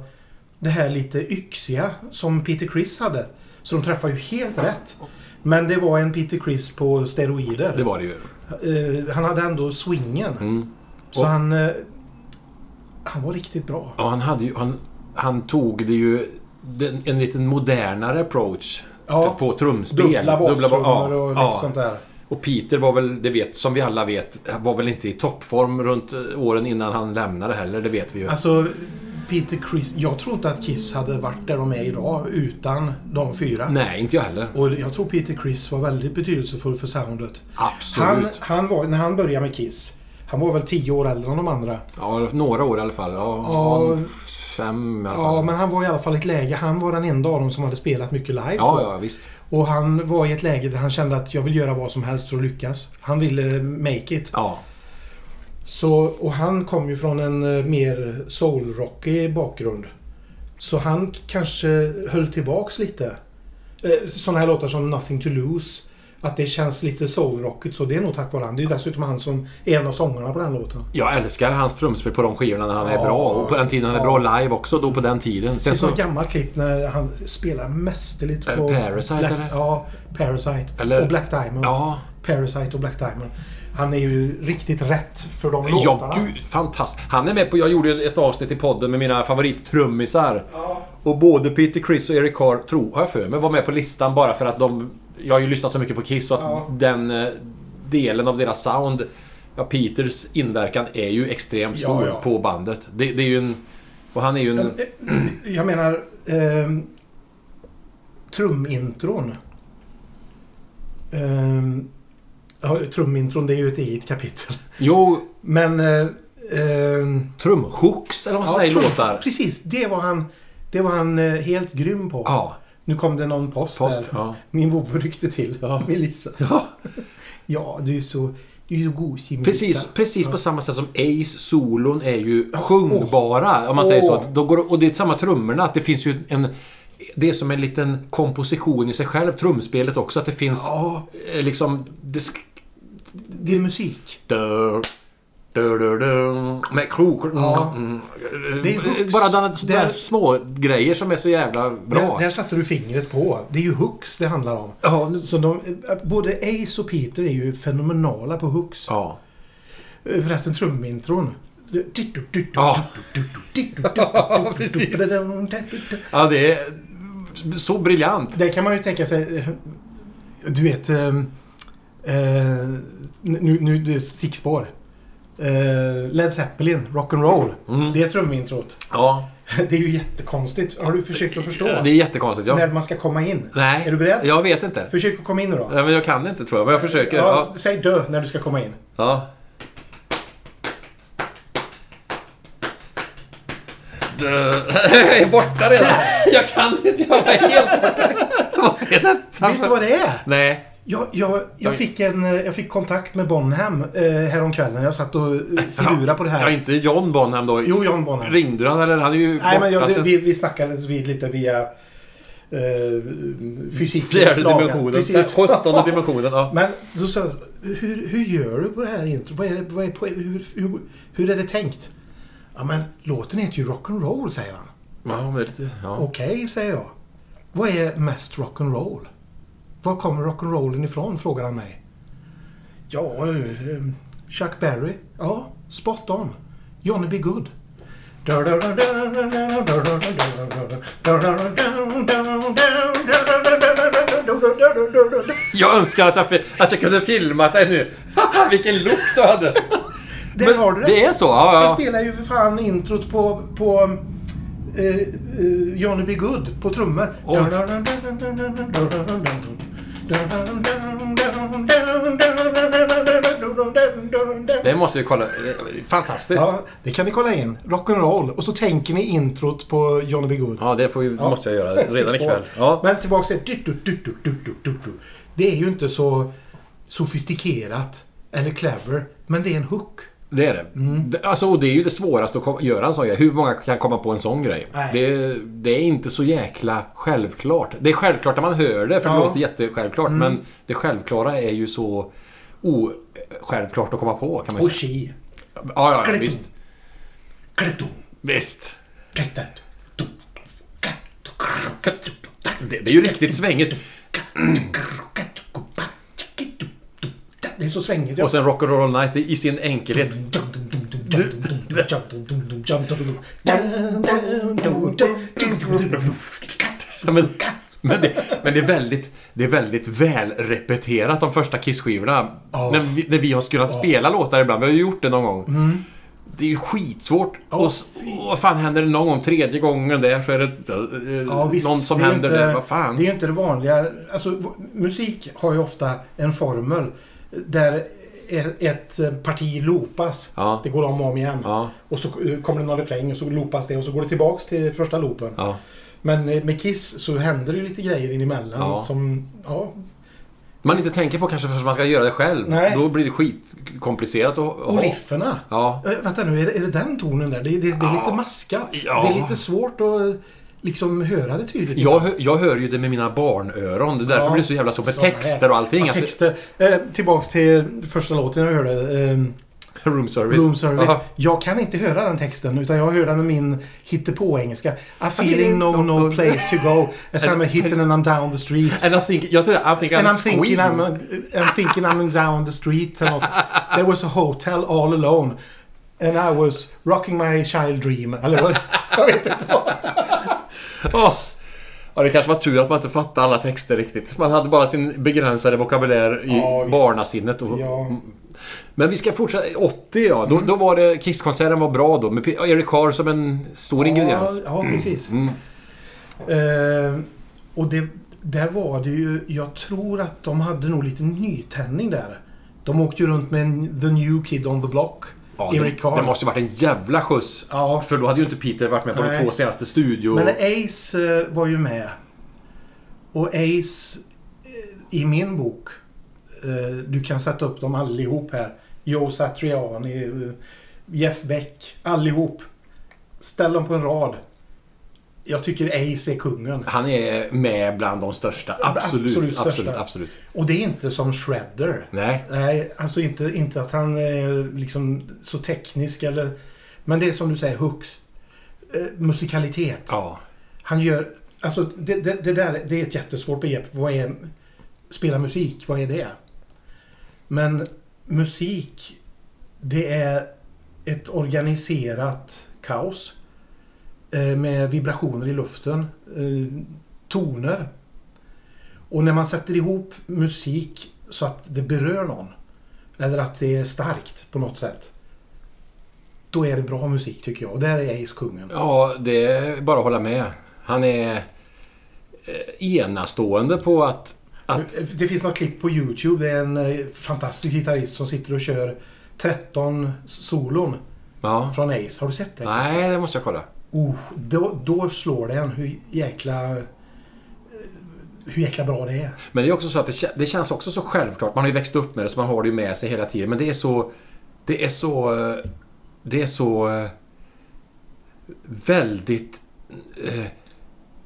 Speaker 3: det här lite yxiga som Peter Criss hade. Så de träffar ju helt rätt. Men det var en Peter Chris på steroider.
Speaker 2: Det var det ju.
Speaker 3: Eh, han hade ändå swingen.
Speaker 2: Mm.
Speaker 3: Så
Speaker 2: Och-
Speaker 3: han... eh, Han var riktigt bra.
Speaker 2: Ja, han, hade ju, han, han tog det ju... den- En lite modernare approach
Speaker 3: Ja.
Speaker 2: på trumspel.
Speaker 3: Dubbla
Speaker 2: bas-
Speaker 3: bastrummor
Speaker 2: ja,
Speaker 3: och lite
Speaker 2: ja.
Speaker 3: sånt där.
Speaker 2: Och Peter var väl, det vet, som vi alla vet, var väl inte i toppform runt eh, åren innan han lämnade heller. Det vet vi ju.
Speaker 3: Alltså, Peter Chris... Jag tror inte att Kiss hade varit där de är idag utan de fyra.
Speaker 2: Nej, inte jag heller.
Speaker 3: Och jag tror Peter Chris var väldigt betydelsefull för soundet.
Speaker 2: Absolut.
Speaker 3: Han, han var, när han började med Kiss, han var väl tio år äldre än de andra.
Speaker 2: Ja, några år i alla fall. Ja,
Speaker 3: Ja.
Speaker 2: ja, fem i alla fall.
Speaker 3: Ja, men han var i alla fall i ett läge. Han var den enda av dem som hade spelat mycket live.
Speaker 2: ja, ja, visst.
Speaker 3: Och han var i ett läge där han kände att jag vill göra vad som helst för att lyckas. Han ville make it.
Speaker 2: Ja.
Speaker 3: Så, och han kom ju från en eh, mer soulrockig bakgrund. Så han k- kanske höll tillbaks lite. Eh, Sådana här låtar som Nothing to Lose. Att det känns lite soulrockigt så det är nog tack vare han. Det är ju dessutom han som är en av sångarna på den låten.
Speaker 2: Jag älskar hans trumspel på de skivorna när han
Speaker 3: Ja,
Speaker 2: är bra. Och på den tiden han är
Speaker 3: ja.
Speaker 2: bra live också, då på den tiden.
Speaker 3: Det
Speaker 2: Sen
Speaker 3: är så
Speaker 2: så...
Speaker 3: ett gammalt klipp när han spelar mästerligt
Speaker 2: Är det
Speaker 3: på...
Speaker 2: Parasite,
Speaker 3: Black,
Speaker 2: eller?
Speaker 3: Ja, Parasite.
Speaker 2: Eller-
Speaker 3: Och Black Diamond.
Speaker 2: Ja.
Speaker 3: Parasite och Black Diamond. Han är ju riktigt rätt för de
Speaker 2: Ja,
Speaker 3: låtarna.
Speaker 2: gud, fantastiskt. Han är med på... Jag gjorde ju ett avsnitt i podden med mina favorittrummisar. Och både Peter Criss och Eric Carr, tror har jag för mig, var med på listan bara för att de... Jag har ju lyssnat så mycket på Kiss och att
Speaker 3: Ja.
Speaker 2: den eh, delen av deras sound... Ja, Peters inverkan är ju extremt
Speaker 3: Ja,
Speaker 2: stor
Speaker 3: ja.
Speaker 2: på bandet. Det, det är ju en... Och han är ju en...
Speaker 3: Eh, Jag menar... ehm, trumintron. Ehm, ja, trumintron det är ju ett eget kapitel.
Speaker 2: Jo,
Speaker 3: Men... Eh, ehm,
Speaker 2: trumhooks eller vad man
Speaker 3: ja,
Speaker 2: säger
Speaker 3: trum-
Speaker 2: låtar.
Speaker 3: Precis, det var han, det var han eh, helt grym på.
Speaker 2: Ja.
Speaker 3: Nu kom det någon post,
Speaker 2: Post,
Speaker 3: där.
Speaker 2: ja.
Speaker 3: Min vovve ryckte till. Melissa.
Speaker 2: ja.
Speaker 3: Ja, du är så, du är så gosig Melissa.
Speaker 2: Precis, precis på samma sätt som Ace-solon är ju sjungbara, om man säger så.
Speaker 3: Åh.
Speaker 2: Att Då går, och det är samma trummorna, att det finns ju en... Det är som en liten komposition i sig själv, trumspelet också, att det finns
Speaker 3: Ja,
Speaker 2: eh, liksom... Det sk-
Speaker 3: det är musik.
Speaker 2: dör, dör, dör, dör, med krok...
Speaker 3: Ja.
Speaker 2: Mm,
Speaker 3: Det är alltså, hooks.
Speaker 2: bara den, sådana här
Speaker 3: Där-
Speaker 2: små grejer som är så jävla bra.
Speaker 3: Där, där satte du fingret på. Det är ju hooks det handlar om.
Speaker 2: ja, nu-
Speaker 3: Så de, eh, både Ace och Peter är ju fenomenala på hooks.
Speaker 2: ja.
Speaker 3: Eh, Förresten trumintron.
Speaker 2: Ja. Ja, precis. ja, det är så briljant.
Speaker 3: Där kan man ju tänka sig... eh, Du vet... eh, eh, nu, nu det är ett stickspår. Eh, Led Zeppelin, Rock'n'Roll.
Speaker 2: Mm.
Speaker 3: Det är trumintrot.
Speaker 2: Ja,
Speaker 3: Det är ju jättekonstigt. Har du försökt att förstå?
Speaker 2: det är jättekonstigt. Ja.
Speaker 3: När man ska komma in.
Speaker 2: Nej.
Speaker 3: Är du beredd?
Speaker 2: Jag vet inte.
Speaker 3: Försök att komma in nu då.
Speaker 2: Nej, men jag kan inte tror jag, men jag försöker.
Speaker 3: Ja,
Speaker 2: Ja.
Speaker 3: säg dö när du ska komma in.
Speaker 2: ja. Dö. Jag är borta redan. Jag kan inte. Jag är helt borta. Vad är detta?
Speaker 3: Vet du vad det är?
Speaker 2: Nej.
Speaker 3: Jag, jag, jag,
Speaker 2: Oj.
Speaker 3: fick en, eh, jag fick kontakt med Bonham eh, häromkvällen. Jag satt och eh, filurade på det
Speaker 2: Ja,
Speaker 3: här.
Speaker 2: inte John Bonham då.
Speaker 3: Jo, John Bonham.
Speaker 2: Ringde han eller? Han är ju
Speaker 3: Nej, men jag,
Speaker 2: borta
Speaker 3: det,
Speaker 2: sen-
Speaker 3: vi, vi snackade vid, lite via eh, fysikens
Speaker 2: Fjärde
Speaker 3: lagar.
Speaker 2: dimensionen.
Speaker 3: Precis.
Speaker 2: Sjuttonde dimensionen. Ja.
Speaker 3: Men då sa jag, hur, hur gör du på det här introt? Vad är, det- vad är, på- hur, hur, hur är det tänkt? Ja, men låten heter ju Rock'n'Roll, säger han.
Speaker 2: Ja, men det är lite... Ja.
Speaker 3: Okej, säger jag. Vad är mest rock'n'roll? Var kommer rock'n'rollen ifrån? frågar han mig. Ja, eh, Chuck Berry. Ja, spot on. Johnny B. Good.
Speaker 2: Jag önskar att jag, fi- att jag kunde filmat dig nu. Vilken look du hade.
Speaker 3: Där
Speaker 2: Men
Speaker 3: har du det.
Speaker 2: Det är så? Ja, ja.
Speaker 3: Jag spelar ju för fan introt på, på eh, eh, Johnny B. Good på trummor.
Speaker 2: Oj. Det måste vi kolla. Fantastiskt. Ja,
Speaker 3: Ja, det kan ni kolla in. Rock'n'roll. Och så tänker ni introt på Johnny B. Good.
Speaker 2: det får vi, måste jag göra redan ikväll. Ja.
Speaker 3: Men tillbaks till... du- du- du- du- du- du- du- du. Det är ju inte så sofistikerat eller clever, men det är en hook.
Speaker 2: Det är det.
Speaker 3: Mm.
Speaker 2: Det- Alltså, och det är ju det svåraste att kom- göra en sån grej. Hur många kan komma på en sån grej?
Speaker 3: Nej.
Speaker 2: Det, det är inte så jäkla självklart. Det är självklart när man hör det, för det
Speaker 3: Ja. Mm.
Speaker 2: låter jättesjälvklart. Men det självklara är ju så osjälvklart att komma på, kan man
Speaker 3: Och
Speaker 2: säga.
Speaker 3: chi.
Speaker 2: Ja, ja, ja,
Speaker 3: Klick.
Speaker 2: visst.
Speaker 3: Kletton.
Speaker 2: Visst.
Speaker 3: Klettet.
Speaker 2: Det, det är ju riktigt svängigt.
Speaker 3: Det är så svängigt.
Speaker 2: Och sen Rock'n'Roll Night det är i sin enkelhet. Ja, Men, men, det, men det är väldigt, det är väldigt välrepeterat de första Kiss-skivorna. När, vi, när vi har skulle spela låtar ibland. Vi har ju gjort det någon gång.
Speaker 3: Mm.
Speaker 2: Det är ju skitsvårt. och, s- och vad fan händer det någon gång? Tredje gången där så är det eh,
Speaker 3: Ja, visst,
Speaker 2: någon som
Speaker 3: det är ju
Speaker 2: händer
Speaker 3: inte-
Speaker 2: där. Vad fan?
Speaker 3: Det är ju inte det vanliga. Alltså, v- musik har ju ofta en formel där e- ett parti loopas.
Speaker 2: Ja.
Speaker 3: Det går om och om igen.
Speaker 2: Ja.
Speaker 3: Och så eh, kommer det någon refräng och så loopas det och så går det tillbaks till första loopen.
Speaker 2: Ja.
Speaker 3: Men eh, med Kiss så händer det ju lite grejer in emellan
Speaker 2: Ja.
Speaker 3: som... Ja.
Speaker 2: Man inte tänker på kanske förrän man ska göra det själv.
Speaker 3: Nej.
Speaker 2: Då blir det skitkomplicerat. Och,
Speaker 3: Och rifferna.
Speaker 2: Ja.
Speaker 3: Eh, vänta nu, är det, är det den tonen där? Det, det, det är
Speaker 2: Ja.
Speaker 3: lite maskat.
Speaker 2: Ja.
Speaker 3: Det är lite svårt att liksom höra det tydligt.
Speaker 2: Jag, hör- jag hör ju det med mina barnöron. Det är därför
Speaker 3: Ja.
Speaker 2: blir det så jävla svårt med
Speaker 3: Såna här-
Speaker 2: texter och allting.
Speaker 3: Ja,
Speaker 2: Att-
Speaker 3: texter. Eh, tillbaks till första låten jag hörde. Eh,
Speaker 2: Room service.
Speaker 3: Room service.
Speaker 2: Ja.
Speaker 3: Jag kan inte höra den texten utan jag hör den med min hittepå-engelska. I feeling no no place to go as I'm a hitting and I'm down the street.
Speaker 2: And I think, jag tror, I think
Speaker 3: And
Speaker 2: I'm
Speaker 3: I'm thinking
Speaker 2: squealing.
Speaker 3: I'm, uh, I'm thinking I'm down the street. And there was a hotel all alone. And I was rocking my child dream. Eller vad Jag vet inte. vad.
Speaker 2: Ja. Ja, det kanske var tur att man inte fattade alla texter riktigt. Man hade bara sin begränsade vokabulär i
Speaker 3: Ja, visst.
Speaker 2: barnasinnet. Och...
Speaker 3: Ja. Mm.
Speaker 2: Men vi ska fortsätta. 80 ja, då, då var det... Kisskonserten var bra då. Med P- Eric Carr som en stor ingrediens. Mm.
Speaker 3: Ja, ja precis. Eh, och det, där var det ju... Jag tror att de hade nog lite nytändning där. De åkte ju runt med en, The New Kid on the Block.
Speaker 2: Ja,
Speaker 3: Eric
Speaker 2: det,
Speaker 3: Carr.
Speaker 2: det måste ju varit en jävla skjuts.
Speaker 3: Ja.
Speaker 2: För då hade ju inte Peter varit med på de
Speaker 3: Nej.
Speaker 2: två senaste studio...
Speaker 3: Men Ace eh, var ju med. Och Ace eh, i min bok. eh, Du kan sätta upp dem allihop här. Joe Satriani, eh, Jeff Beck. Allihop. Ställ dem på en rad. Jag tycker Ace är kungen.
Speaker 2: Han är med bland de största. Absolut. Absolut,
Speaker 3: absolut största.
Speaker 2: absolut, absolut.
Speaker 3: Och det är inte som Shredder.
Speaker 2: Nej.
Speaker 3: Nej, alltså inte, inte att han är liksom så teknisk eller... Men det är som du säger, hooks. Eh, musikalitet.
Speaker 2: Ja.
Speaker 3: Han gör... Alltså det, det, det där det är ett jättesvårt begrepp. Vad är... Spela musik, vad är det? Men musik, det är ett organiserat kaos. eh, Med vibrationer i luften. eh, Toner. Och när man sätter ihop musik så att det berör någon. Eller att det är starkt på något sätt. Då är det bra musik tycker jag. Och där är Ace kungen.
Speaker 2: Ja, det är bara att hålla med. Han är eh, enastående på att... att
Speaker 3: Det finns något klipp på Youtube. Det är en eh, fantastisk gitarrist som sitter och kör 13 solon
Speaker 2: ja.
Speaker 3: från Ace. Har du sett det?
Speaker 2: Nej, det måste jag kolla.
Speaker 3: Oh, då, då slår det en hur jäkla... eh, Hur jäkla bra det är.
Speaker 2: Men det är också så att det, kä- det känns också så självklart. Man har ju växt upp med det så man har det ju med sig hela tiden. Men det är så... Det är så... eh, Det är så... eh, Väldigt... eh,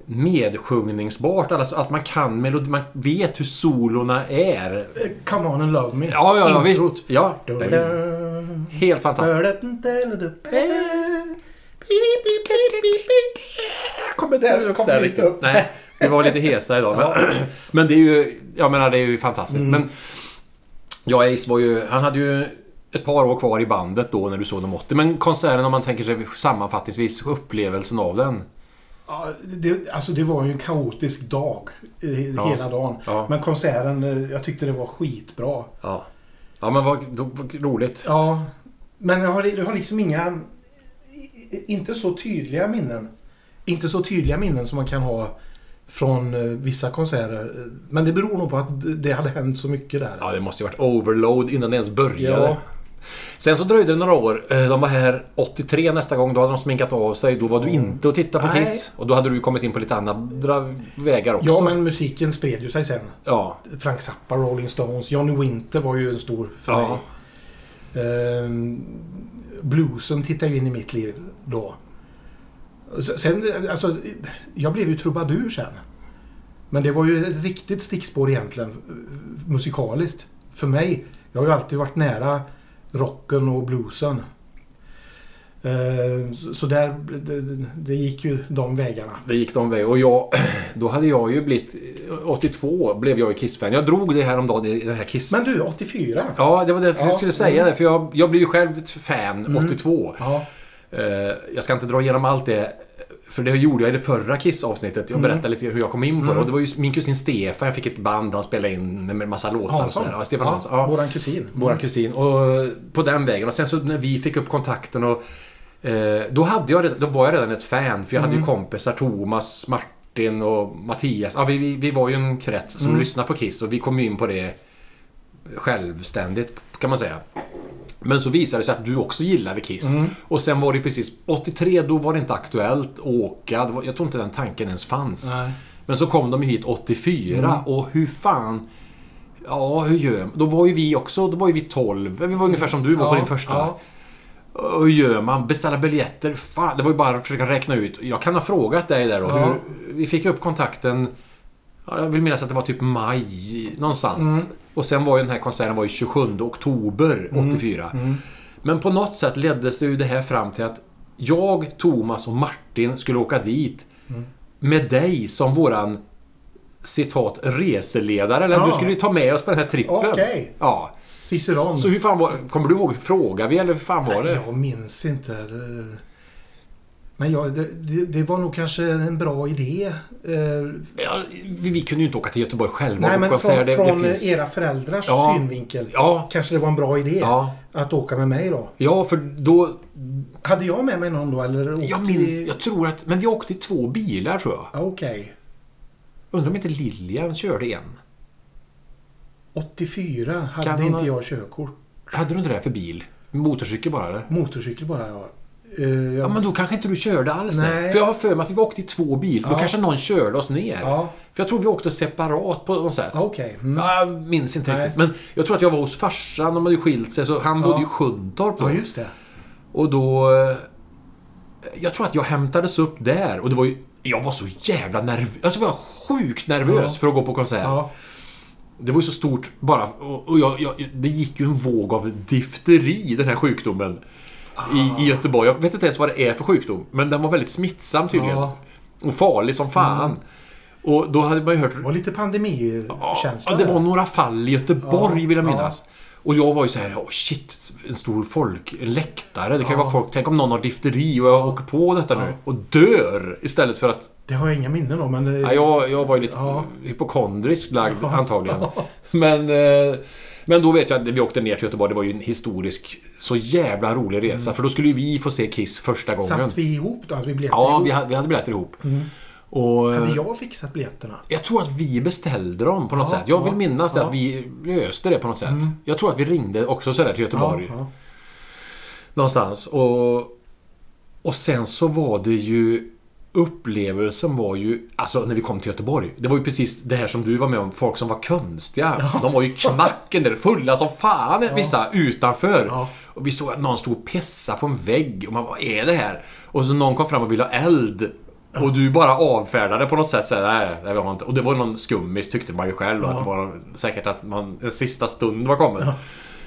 Speaker 2: Medsjungningsbart. Alltså att man kan melodi... Man vet hur solorna är.
Speaker 3: Eh, Come on and love me.
Speaker 2: Ja, ja, ja visst.
Speaker 3: Introt.
Speaker 2: Ja.
Speaker 3: Du- du- du-
Speaker 2: Helt fantastiskt.
Speaker 3: Kommer där, kommer
Speaker 2: Där
Speaker 3: inte
Speaker 2: riktigt.
Speaker 3: upp.
Speaker 2: Nej, vi var lite hesa idag. Men, men det är ju... Jag menar, det är ju fantastiskt.
Speaker 3: Mm.
Speaker 2: Men... Ja, Ace var ju... Han hade ju ett par år kvar i bandet då när du såg dem 80. Men konserten, om man tänker sig sammanfattningsvis upplevelsen av den.
Speaker 3: Ja, det, alltså det var ju en kaotisk dag. eh,
Speaker 2: Ja.
Speaker 3: Hela dagen.
Speaker 2: Ja.
Speaker 3: Men konserten, eh, jag tyckte det var skitbra.
Speaker 2: Ja. Ja, men vad, då, vad roligt.
Speaker 3: Ja, men jag har, jag har liksom inga... i- i- Inte så tydliga minnen. Inte så tydliga minnen som man kan ha från eh, vissa konserter. Eh, Men det beror nog på att d- det hade hänt så mycket där.
Speaker 2: Ja, det måste ju varit overload innan det ens började.
Speaker 3: Ja.
Speaker 2: Sen så dröjde det några år. Eh, De var här 83 nästa gång. Då hade de sminkat av sig. Då var du inte och tittade på
Speaker 3: Nej.
Speaker 2: Kiss. Och då hade du ju kommit in på lite andra vägar också.
Speaker 3: ja, men musiken spred ju sig sen.
Speaker 2: Ja.
Speaker 3: Frank Zappa, Rolling Stones, Johnny Winter var ju en stor för
Speaker 2: Ja.
Speaker 3: mig. Ehm, bluesen tittade ju in i mitt liv då. S- Sen, alltså, jag blev ju trubadur sen. Men det var ju ett riktigt stickspår egentligen eh, musikaliskt. För mig. Jag har ju alltid varit nära rocken och bluesen. Eh, så- Så där, det, det gick ju de vägarna.
Speaker 2: Det gick de väg. Och jag, då hade jag ju blivit... 82 blev jag ju Kiss-fan. Jag drog det här om dagen i den här Kiss...
Speaker 3: Men du, 84?
Speaker 2: Ja, det var det jag
Speaker 3: Ja, mm.
Speaker 2: skulle säga. Det, för jag, jag blev ju själv ett fan 82.
Speaker 3: Ja.
Speaker 2: Eh, jag ska inte dra igenom allt det. För det gjorde jag i det förra Kiss-avsnittet.
Speaker 3: Mm.
Speaker 2: Jag berättade lite hur jag kom in på det. Och det var ju min kusin Stefan. Jag fick ett band han spelade in med en massa låtar. och
Speaker 3: Hansson?
Speaker 2: sådär. Ja, Stefan Hansson.
Speaker 3: Ja,
Speaker 2: Ja.
Speaker 3: Våran kusin.
Speaker 2: Våran kusin. Och på den vägen. Och sen så när vi fick upp kontakten och... Eh, då, hade jag, redan- då var jag redan ett fan. För jag hade ju kompisar. Thomas, Martin och Mattias. Ja, vi, vi, vi var ju en krets som lyssnade på Kiss. Och vi kom ju in på det självständigt kan man säga. Men så visade det sig att du också gillade Kiss. Och sen var det precis 83, då var det inte aktuellt att åka. Det var- Jag tror inte den tanken ens fanns.
Speaker 3: Nej.
Speaker 2: Men så kom de ju hit 84
Speaker 3: Mm.
Speaker 2: och hur fan... Ja, hur gör Då var ju vi också, då var ju vi 12. Vi var ungefär som du var på din första.
Speaker 3: Ja.
Speaker 2: Och Hur gör man? Beställa biljetter? Fan, det var ju bara att försöka räkna ut. Jag kan ha frågat dig där då.
Speaker 3: Ja.
Speaker 2: Hur, vi fick upp kontakten... ja, Jag vill minnas att det var typ maj någonstans.
Speaker 3: Mm.
Speaker 2: Och sen var ju den här konserten var ju 27 oktober 84.
Speaker 3: Mm.
Speaker 2: Men på något sätt ledde sig ju det här fram till att jag, Thomas och Martin skulle åka dit
Speaker 3: Mm.
Speaker 2: med dig som våran citat reseledare. Eller
Speaker 3: Ja.
Speaker 2: du skulle ju ta med oss på den här trippen.
Speaker 3: Okej.
Speaker 2: Ja.
Speaker 3: Ciceron.
Speaker 2: Så hur fan var Kommer du ihåg? Frågade vi eller hur fan var det?
Speaker 3: Jag minns inte. eh, Men jag, det, det, det var nog kanske en bra idé. eh,
Speaker 2: Ja, vi, vi kunde ju inte åka till Göteborg själva.
Speaker 3: Nej,
Speaker 2: kan
Speaker 3: men
Speaker 2: jag
Speaker 3: från,
Speaker 2: säga. Det- det
Speaker 3: från
Speaker 2: finns-
Speaker 3: era föräldrars
Speaker 2: Ja.
Speaker 3: synvinkel
Speaker 2: Ja,
Speaker 3: kanske det var en bra idé
Speaker 2: Ja.
Speaker 3: att åka med mig då.
Speaker 2: ja, för då...
Speaker 3: Hade jag med mig någon då eller? åkte
Speaker 2: Jag minns...
Speaker 3: vi-
Speaker 2: Jag tror att... Men vi åkte i två bilar, tror jag.
Speaker 3: Ja, Okej.
Speaker 2: Undrar om inte Lilian körde en?
Speaker 3: 84 hade
Speaker 2: Kan hon
Speaker 3: inte
Speaker 2: ha-
Speaker 3: jag körkort.
Speaker 2: Hade du inte det här för bil? Motorcykel bara, eller?
Speaker 3: Motorcykel bara ja. Eh, jag-
Speaker 2: Ja, men då kanske inte du körde alls. Nej.
Speaker 3: Nej.
Speaker 2: För jag har för mig att vi åkte i två bilar. Då
Speaker 3: Ja.
Speaker 2: kanske någon körde oss ner.
Speaker 3: Ja.
Speaker 2: För jag tror vi åkte separat på något sätt.
Speaker 3: Ja, Okej. Mm.
Speaker 2: Ja, Jag minns inte
Speaker 3: Nej.
Speaker 2: riktigt. Men jag tror att jag var hos farsan. De hade skilt sig. Så han bodde ju i Sjuntorp då.
Speaker 3: Ja, just det.
Speaker 2: Och då... eh, Jag tror att jag hämtades upp där och det var ju... Jag var så jävla nervös. Alltså jag var sjukt nervös
Speaker 3: Ja.
Speaker 2: för att gå på konsert.
Speaker 3: Ja.
Speaker 2: Det var ju så stort bara. Och och jag, jag, det gick ju en våg av difteri, den här sjukdomen.
Speaker 3: Ah.
Speaker 2: I, I Göteborg. Jag vet inte ens vad det är för sjukdom. Men den var väldigt smittsam tydligen.
Speaker 3: Ja. Mm.
Speaker 2: Och farlig som fan. Och då hade man ju hört
Speaker 3: Det var lite pandemikänsla.
Speaker 2: Ja, det var några fall i Göteborg
Speaker 3: Ja,
Speaker 2: vill jag
Speaker 3: ja.
Speaker 2: minnas. Och jag var ju så här, oh shit, en stor folk, en läktare. Det kan ju vara folk, tänk om någon har difteri och jag åker på detta nu och dör istället för att...
Speaker 3: Det har jag inga minnen om. Men, eh,
Speaker 2: Ja, jag, jag var ju lite
Speaker 3: Ja.
Speaker 2: hypokondrisk lagd antagligen. Men, eh, men då vet jag att när vi åkte ner till Göteborg, det var ju en historisk, så jävla rolig resa. För då skulle ju vi få se Kiss första gången.
Speaker 3: Mm. Satt vi ihop då? Alltså, vi blev
Speaker 2: Ja,
Speaker 3: ihop.
Speaker 2: vi hade, vi hade biljetter ihop. Och, eh,
Speaker 3: Hade jag fixat biljetterna?
Speaker 2: Jag tror att vi beställde dem på något
Speaker 3: Ja,
Speaker 2: sätt. Jag
Speaker 3: ja,
Speaker 2: vill minnas det
Speaker 3: ja. Mm.
Speaker 2: att vi löste det på något sätt. Jag tror att vi ringde också sådär till Göteborg.
Speaker 3: Ja,
Speaker 2: Någonstans. Och, och sen så var det ju... Upplevelsen var ju... Alltså när vi kom till Göteborg. Det var ju precis det här som du var med om. Folk som var konstiga. De var ju knacken där. Fulla som fan vissa utanför.
Speaker 3: Ja.
Speaker 2: Och vi såg att någon stod och pissade på en vägg. Och man bara, vad är det här? Och så någon kom fram och ville ha eld. Och du bara avfärdade på något sätt. Så här, nej, det vill jag inte. Och det var någon skummis tyckte man ju själv. Att det var säkert att man, en sista stund var kommen.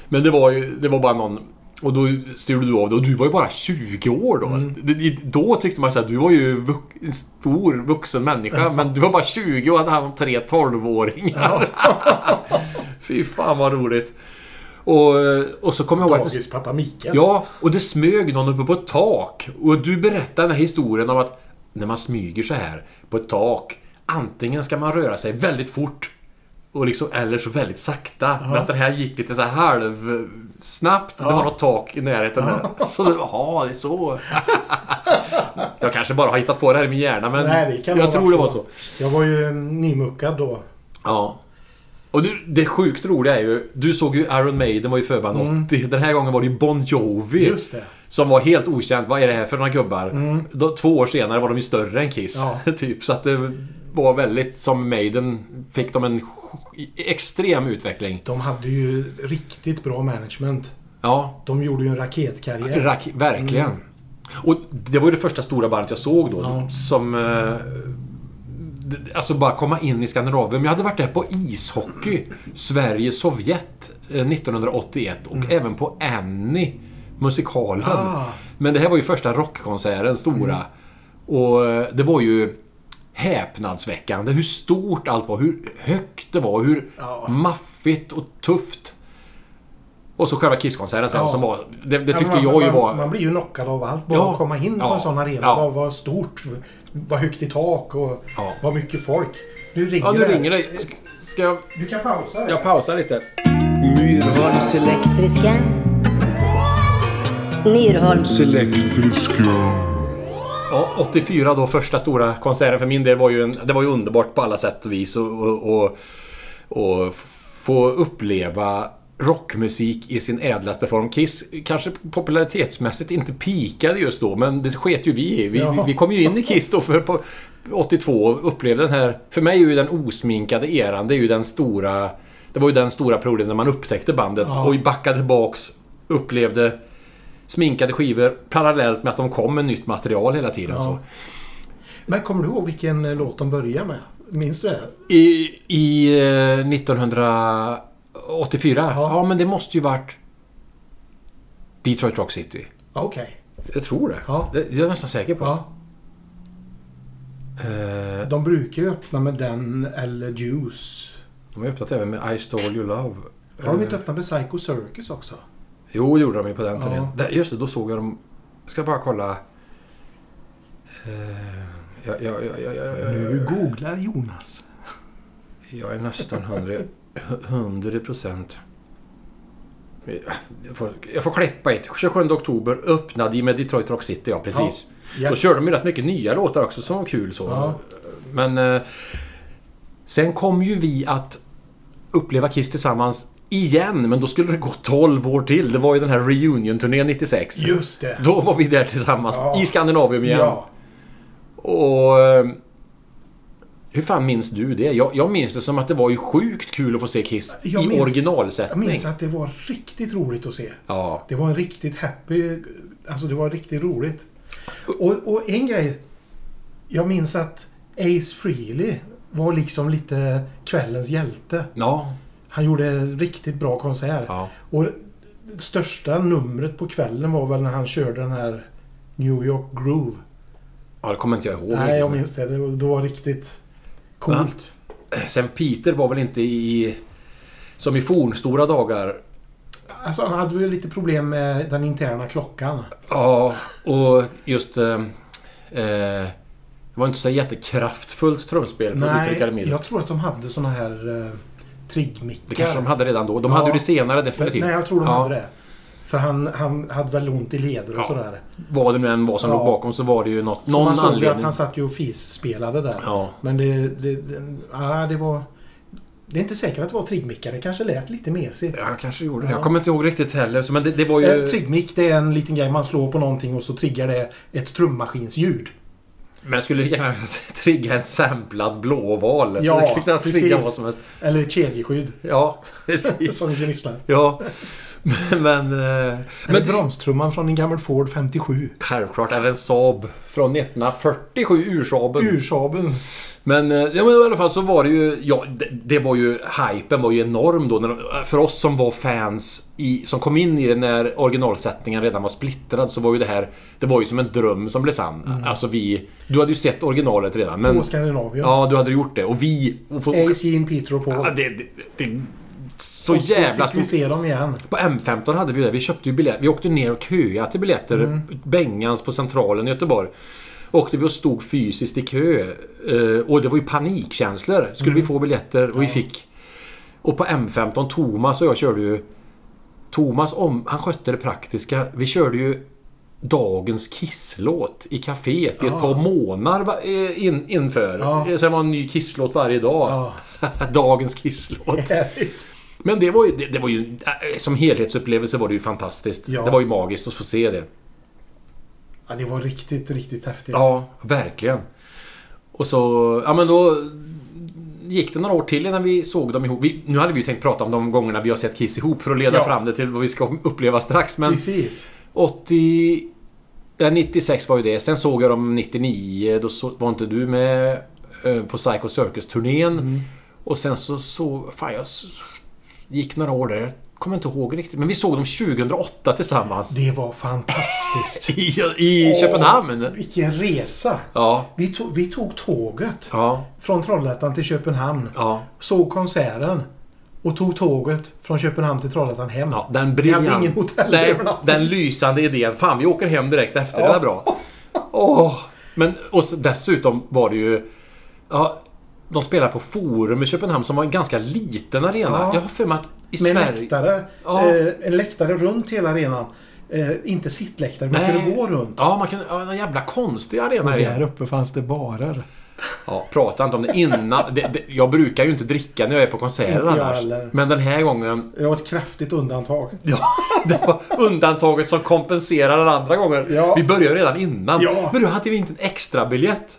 Speaker 2: Men det var ju det var bara någon... Och då styrde du av det. Och du var ju bara 20 år då. Det, det, då tyckte man så här, du var ju vux, en stor vuxen människa. Men du var bara 20 och hade hand om tre 12-åringar. Fy fan vad roligt. Och, och så kommer jag ihåg att... det-
Speaker 4: Dagispappa Mikael.
Speaker 2: Ja, och det smög någon uppe på ett tak. Och du berättade den här historien om att när man smyger så här på ett tak, antingen ska man röra sig väldigt fort och liksom, eller så väldigt sakta. Men att den här gick lite så här halvsnabbt. Det var något tak i närheten där. Så, jaha, det är så. jag kanske bara har hittat på det här i min hjärna, men
Speaker 3: Nej, det kan
Speaker 2: jag
Speaker 3: vara
Speaker 2: tror det var
Speaker 3: så.
Speaker 2: så.
Speaker 3: Jag var ju eh, nymuckad då.
Speaker 2: Ja. Och du, det sjukt roliga är ju, du såg ju Iron Maiden var ju förband 80. Den här gången var det ju Bon Jovi.
Speaker 3: Mm. Just det. Mm.
Speaker 2: Som var helt okänt. Vad är det här för några gubbar? Då, två år senare var de ju större än Kiss.
Speaker 3: Ja.
Speaker 2: typ. Så att det var väldigt... Som Maiden fick de en sj- extrem utveckling.
Speaker 3: De hade ju riktigt bra management.
Speaker 2: Ja,
Speaker 3: De gjorde ju en raketkarriär.
Speaker 2: rack, verkligen. Och det var ju det första stora bandet jag såg då.
Speaker 3: Mm. Ja.
Speaker 2: Som... Eh, d- alltså bara komma in i Skandinavien. Men jag hade varit där på ishockey. Sverige-Sovjet eh, 1981. Och även på Annie. Musikalen.
Speaker 3: Mm. Ah. Mm.
Speaker 2: Men det här var ju första rockkonserten, stora. Och eh, det var ju häpnadsväckande hur stort allt var, hur högt det var, hur
Speaker 3: Ja.
Speaker 2: maffigt och tufft. Och så själva Kisskonserten sen
Speaker 3: Ja.
Speaker 2: som var... Det, det tyckte
Speaker 3: man,
Speaker 2: jag ju
Speaker 3: man,
Speaker 2: var...
Speaker 3: Man blir ju knockad av allt. Bara
Speaker 2: Ja.
Speaker 3: att komma in på
Speaker 2: Ja.
Speaker 3: en sån arena.
Speaker 2: Ja.
Speaker 3: Vad, vad stort, vad högt i tak och
Speaker 2: Ja.
Speaker 3: vad mycket folk. Nu ringer
Speaker 2: ja, nu
Speaker 3: det.
Speaker 2: ringer det. Ska- Ska jag...
Speaker 3: Du kan pausa det.
Speaker 2: Jag pausar lite.
Speaker 1: Myrholms elektriska. Myrholms elektriska.
Speaker 2: Ja, 84 då, första stora konserten för min del var ju, en, det var ju underbart på alla sätt och vis. Och, och, och, och få uppleva rockmusik i sin ädlaste form. Kiss kanske popularitetsmässigt inte pikade just då, men det sket ju vi i. Vi,
Speaker 3: Ja.
Speaker 2: vi kom ju in i Kiss då för på 82 och upplevde den här... För mig är ju den osminkade eran, det är ju den stora... Det var ju den stora perioden när man upptäckte bandet
Speaker 3: Ja.
Speaker 2: och backade tillbaks, upplevde sminkade skivor parallellt med att de kom med nytt material hela tiden. Så.
Speaker 3: Men kommer du ihåg vilken eh, låt de börjar med? Minns du det?
Speaker 2: I, i eh, 1984? Ja. men det måste ju varit Detroit Rock City.
Speaker 3: Ja, Okej.
Speaker 2: Jag tror det.
Speaker 3: Ja.
Speaker 2: det jag är jag nästan säker på.
Speaker 3: Ja.
Speaker 2: Eh,
Speaker 3: De brukar ju öppna med den eller Juice.
Speaker 2: de har ju öppnat även med I Stole Your Love.
Speaker 3: Har de
Speaker 2: Eh,
Speaker 3: inte öppnat med Psycho Circus också?
Speaker 2: Jo, det gjorde de ju på den
Speaker 3: Ja.
Speaker 2: turnén. Där- Just det, då såg jag dem... Jag ska bara kolla... Eh, jag, jag, jag, jag, jag, jag,
Speaker 3: Nu googlar Jonas.
Speaker 2: Jag är nästan 100 100 procent. Jag får, jag får klippa ett. 27 oktober öppnade de med Detroit Rock City, ja precis.
Speaker 3: Ja.
Speaker 2: Då körde de ju rätt mycket nya låtar också som var kul så.
Speaker 3: Ja.
Speaker 2: Men eh, sen kom ju vi att uppleva Kiss tillsammans igen, men då skulle det gå 12 år till. Det var ju den här reunion-turnén 96.
Speaker 3: Just det.
Speaker 2: Då var vi där tillsammans
Speaker 3: Ja.
Speaker 2: i Skandinavien igen.
Speaker 3: Ja.
Speaker 2: Och... eh, Hur fan minns du det? Jag, jag minns det som att det var ju sjukt kul att få se Kiss
Speaker 3: Jag
Speaker 2: i
Speaker 3: minns- Jag
Speaker 2: originalsättning.
Speaker 3: minns att det var riktigt roligt att se.
Speaker 2: Ja.
Speaker 3: Det var en riktigt happy... Alltså det var riktigt roligt. Och, och en grej. Jag minns att Ace Frehley var liksom lite kvällens hjälte.
Speaker 2: Ja.
Speaker 3: Han gjorde en riktigt bra konsert.
Speaker 2: Ja.
Speaker 3: Och det största numret på kvällen var väl när han körde den här New York Groove.
Speaker 2: ja, det kommer inte jag ihåg.
Speaker 3: Nej, jag minns det. Det var, det var riktigt coolt.
Speaker 2: Sen Peter var väl inte i... Som i fornstora dagar.
Speaker 3: Alltså, han hade väl lite problem med den interna klockan.
Speaker 2: Ja, och just... Eh, eh, det var inte så jättekraftfullt trumspel för att uttrycka det
Speaker 3: Nej,
Speaker 2: milt.
Speaker 3: jag tror att de hade såna här eh, triggmickar.
Speaker 2: Det kanske de hade redan då. De
Speaker 3: Ja.
Speaker 2: hade ju det senare definitivt.
Speaker 3: Nej, jag tror de
Speaker 2: Ja.
Speaker 3: hade det. För han, han hade väl ont i leder och
Speaker 2: Ja.
Speaker 3: sådär.
Speaker 2: Vad det nu än var som
Speaker 3: Ja.
Speaker 2: låg bakom så var det ju något,
Speaker 3: Så
Speaker 2: någon
Speaker 3: man såg ju att
Speaker 2: anledning.
Speaker 3: han satt ju och fis-spelade där.
Speaker 2: Ja.
Speaker 3: Men det... det, det, ja, det var... Det är inte säkert att det var triggmickar. Det kanske lät lite mesigt.
Speaker 2: Ja, han kanske gjorde det.
Speaker 3: Ja.
Speaker 2: Jag kommer inte ihåg riktigt heller. så- Men det, det var ju...
Speaker 3: Eh, Triggmick det är en liten grej man slår på någonting och så triggar det ett trummaskinsljud.
Speaker 2: Men jag skulle lika gärna trigga en samplad blåval.
Speaker 3: Ja,
Speaker 2: det skulle kunna trigga
Speaker 3: precis.
Speaker 2: vad som helst.
Speaker 3: Eller ett kedjeskydd
Speaker 2: Ja, precis.
Speaker 3: som gnisslar.
Speaker 2: ja. Men... Men, eh,
Speaker 3: Men
Speaker 2: men
Speaker 3: bromstrumman från en gammal Ford 57.
Speaker 2: självklart även Saab från 1947, ursaaben.
Speaker 3: Ursaben.
Speaker 2: Men, eh, ja, men i alla fall så var det ju... Ja, det, det var ju... Hypen var ju enorm då. När, de- eh, för oss som var fans, i, som kom in i det när originalsättningen redan var splittrad, så var ju det här... Det var ju som en dröm som blev sann. Alltså vi... Du hade ju sett originalet redan, men...
Speaker 3: Mm. På Skandinavien.
Speaker 2: Ja, du hade gjort det. Och vi... Och få,
Speaker 3: Ace, Gene, Peter och Paul.
Speaker 2: Ja, det, det, det, så
Speaker 3: och så
Speaker 2: jävla
Speaker 3: fick vi
Speaker 2: stort.
Speaker 3: se dem igen.
Speaker 2: På M15 hade vi det. Vi köpte ju biljetter. Vi åkte ner och köade till biljetter. Bengans på Centralen i Göteborg. Åkte vi och stod fysiskt i kö. Eh, och det var ju panikkänslor. Skulle vi få biljetter? Och vi fick. Och på M15, Thomas och jag körde ju... Thomas om, han skötte det praktiska. Vi körde ju dagens kisslåt i kaféet i ett par månader va- eh, in, inför.
Speaker 3: Ja.
Speaker 2: Eh, Sen var det en ny kisslåt varje dag. dagens kisslåt.
Speaker 3: Härligt.
Speaker 2: Men det var ju, det, det var ju äh, som helhetsupplevelse var det ju fantastiskt.
Speaker 3: Ja.
Speaker 2: Det var ju magiskt att få se det.
Speaker 3: Ja, det var riktigt, riktigt häftigt.
Speaker 2: Ja, verkligen. Och så, ja men då gick det några år till innan vi såg dem ihop. Vi, nu hade vi ju tänkt prata om de gångerna vi har sett Kiss ihop för att leda
Speaker 3: Ja.
Speaker 2: fram det till vad vi ska uppleva strax. Men
Speaker 3: Precis.
Speaker 2: 80... Ja, 96 var ju det. Sen såg jag dem 99. Då så, var inte du med eh, på Psycho Circus-turnén. Och sen så såg... Fan, jag s- gick några år där. kommer inte ihåg riktigt, men vi såg dem 2008 tillsammans.
Speaker 3: Det var fantastiskt.
Speaker 2: I, i Köpenhamn.
Speaker 3: Vilken resa!
Speaker 2: Ja.
Speaker 3: Vi tog, vi tog tåget
Speaker 2: Ja.
Speaker 3: från Trollhättan till Köpenhamn.
Speaker 2: Ja.
Speaker 3: Såg konserten. Och tog tåget från Köpenhamn till Trollhättan hem.
Speaker 2: Ja, den
Speaker 3: Vi hade
Speaker 2: briljant...
Speaker 3: ingen hotell
Speaker 2: Nej,
Speaker 3: övernattning.
Speaker 2: den lysande idén. Fan, vi åker hem direkt efter. Det var bra. Åh! Men och s- dessutom var det ju... Ja, de spelade på Forum i Köpenhamn som var en ganska liten arena.
Speaker 3: Ja.
Speaker 2: Jag har för mig att i
Speaker 3: Med
Speaker 2: Sverige...
Speaker 3: läktare.
Speaker 2: Ja.
Speaker 3: Eh, en läktare runt hela arenan. Eh, inte sittläktare, man kunde gå runt.
Speaker 2: Ja, man kan, ja, en jävla konstig arena.
Speaker 3: Där
Speaker 2: igen.
Speaker 3: uppe fanns det barer.
Speaker 2: Ja, prata inte om det innan. Det, det, jag brukar ju inte dricka när jag är på konserter
Speaker 3: Inte jag
Speaker 2: annars.
Speaker 3: heller.
Speaker 2: Men den här gången
Speaker 3: Det var ett kraftigt undantag.
Speaker 2: Ja, det var undantaget som kompenserar den andra gången.
Speaker 3: Ja.
Speaker 2: Vi började redan innan.
Speaker 3: Ja.
Speaker 2: Men då hade vi inte en extra biljett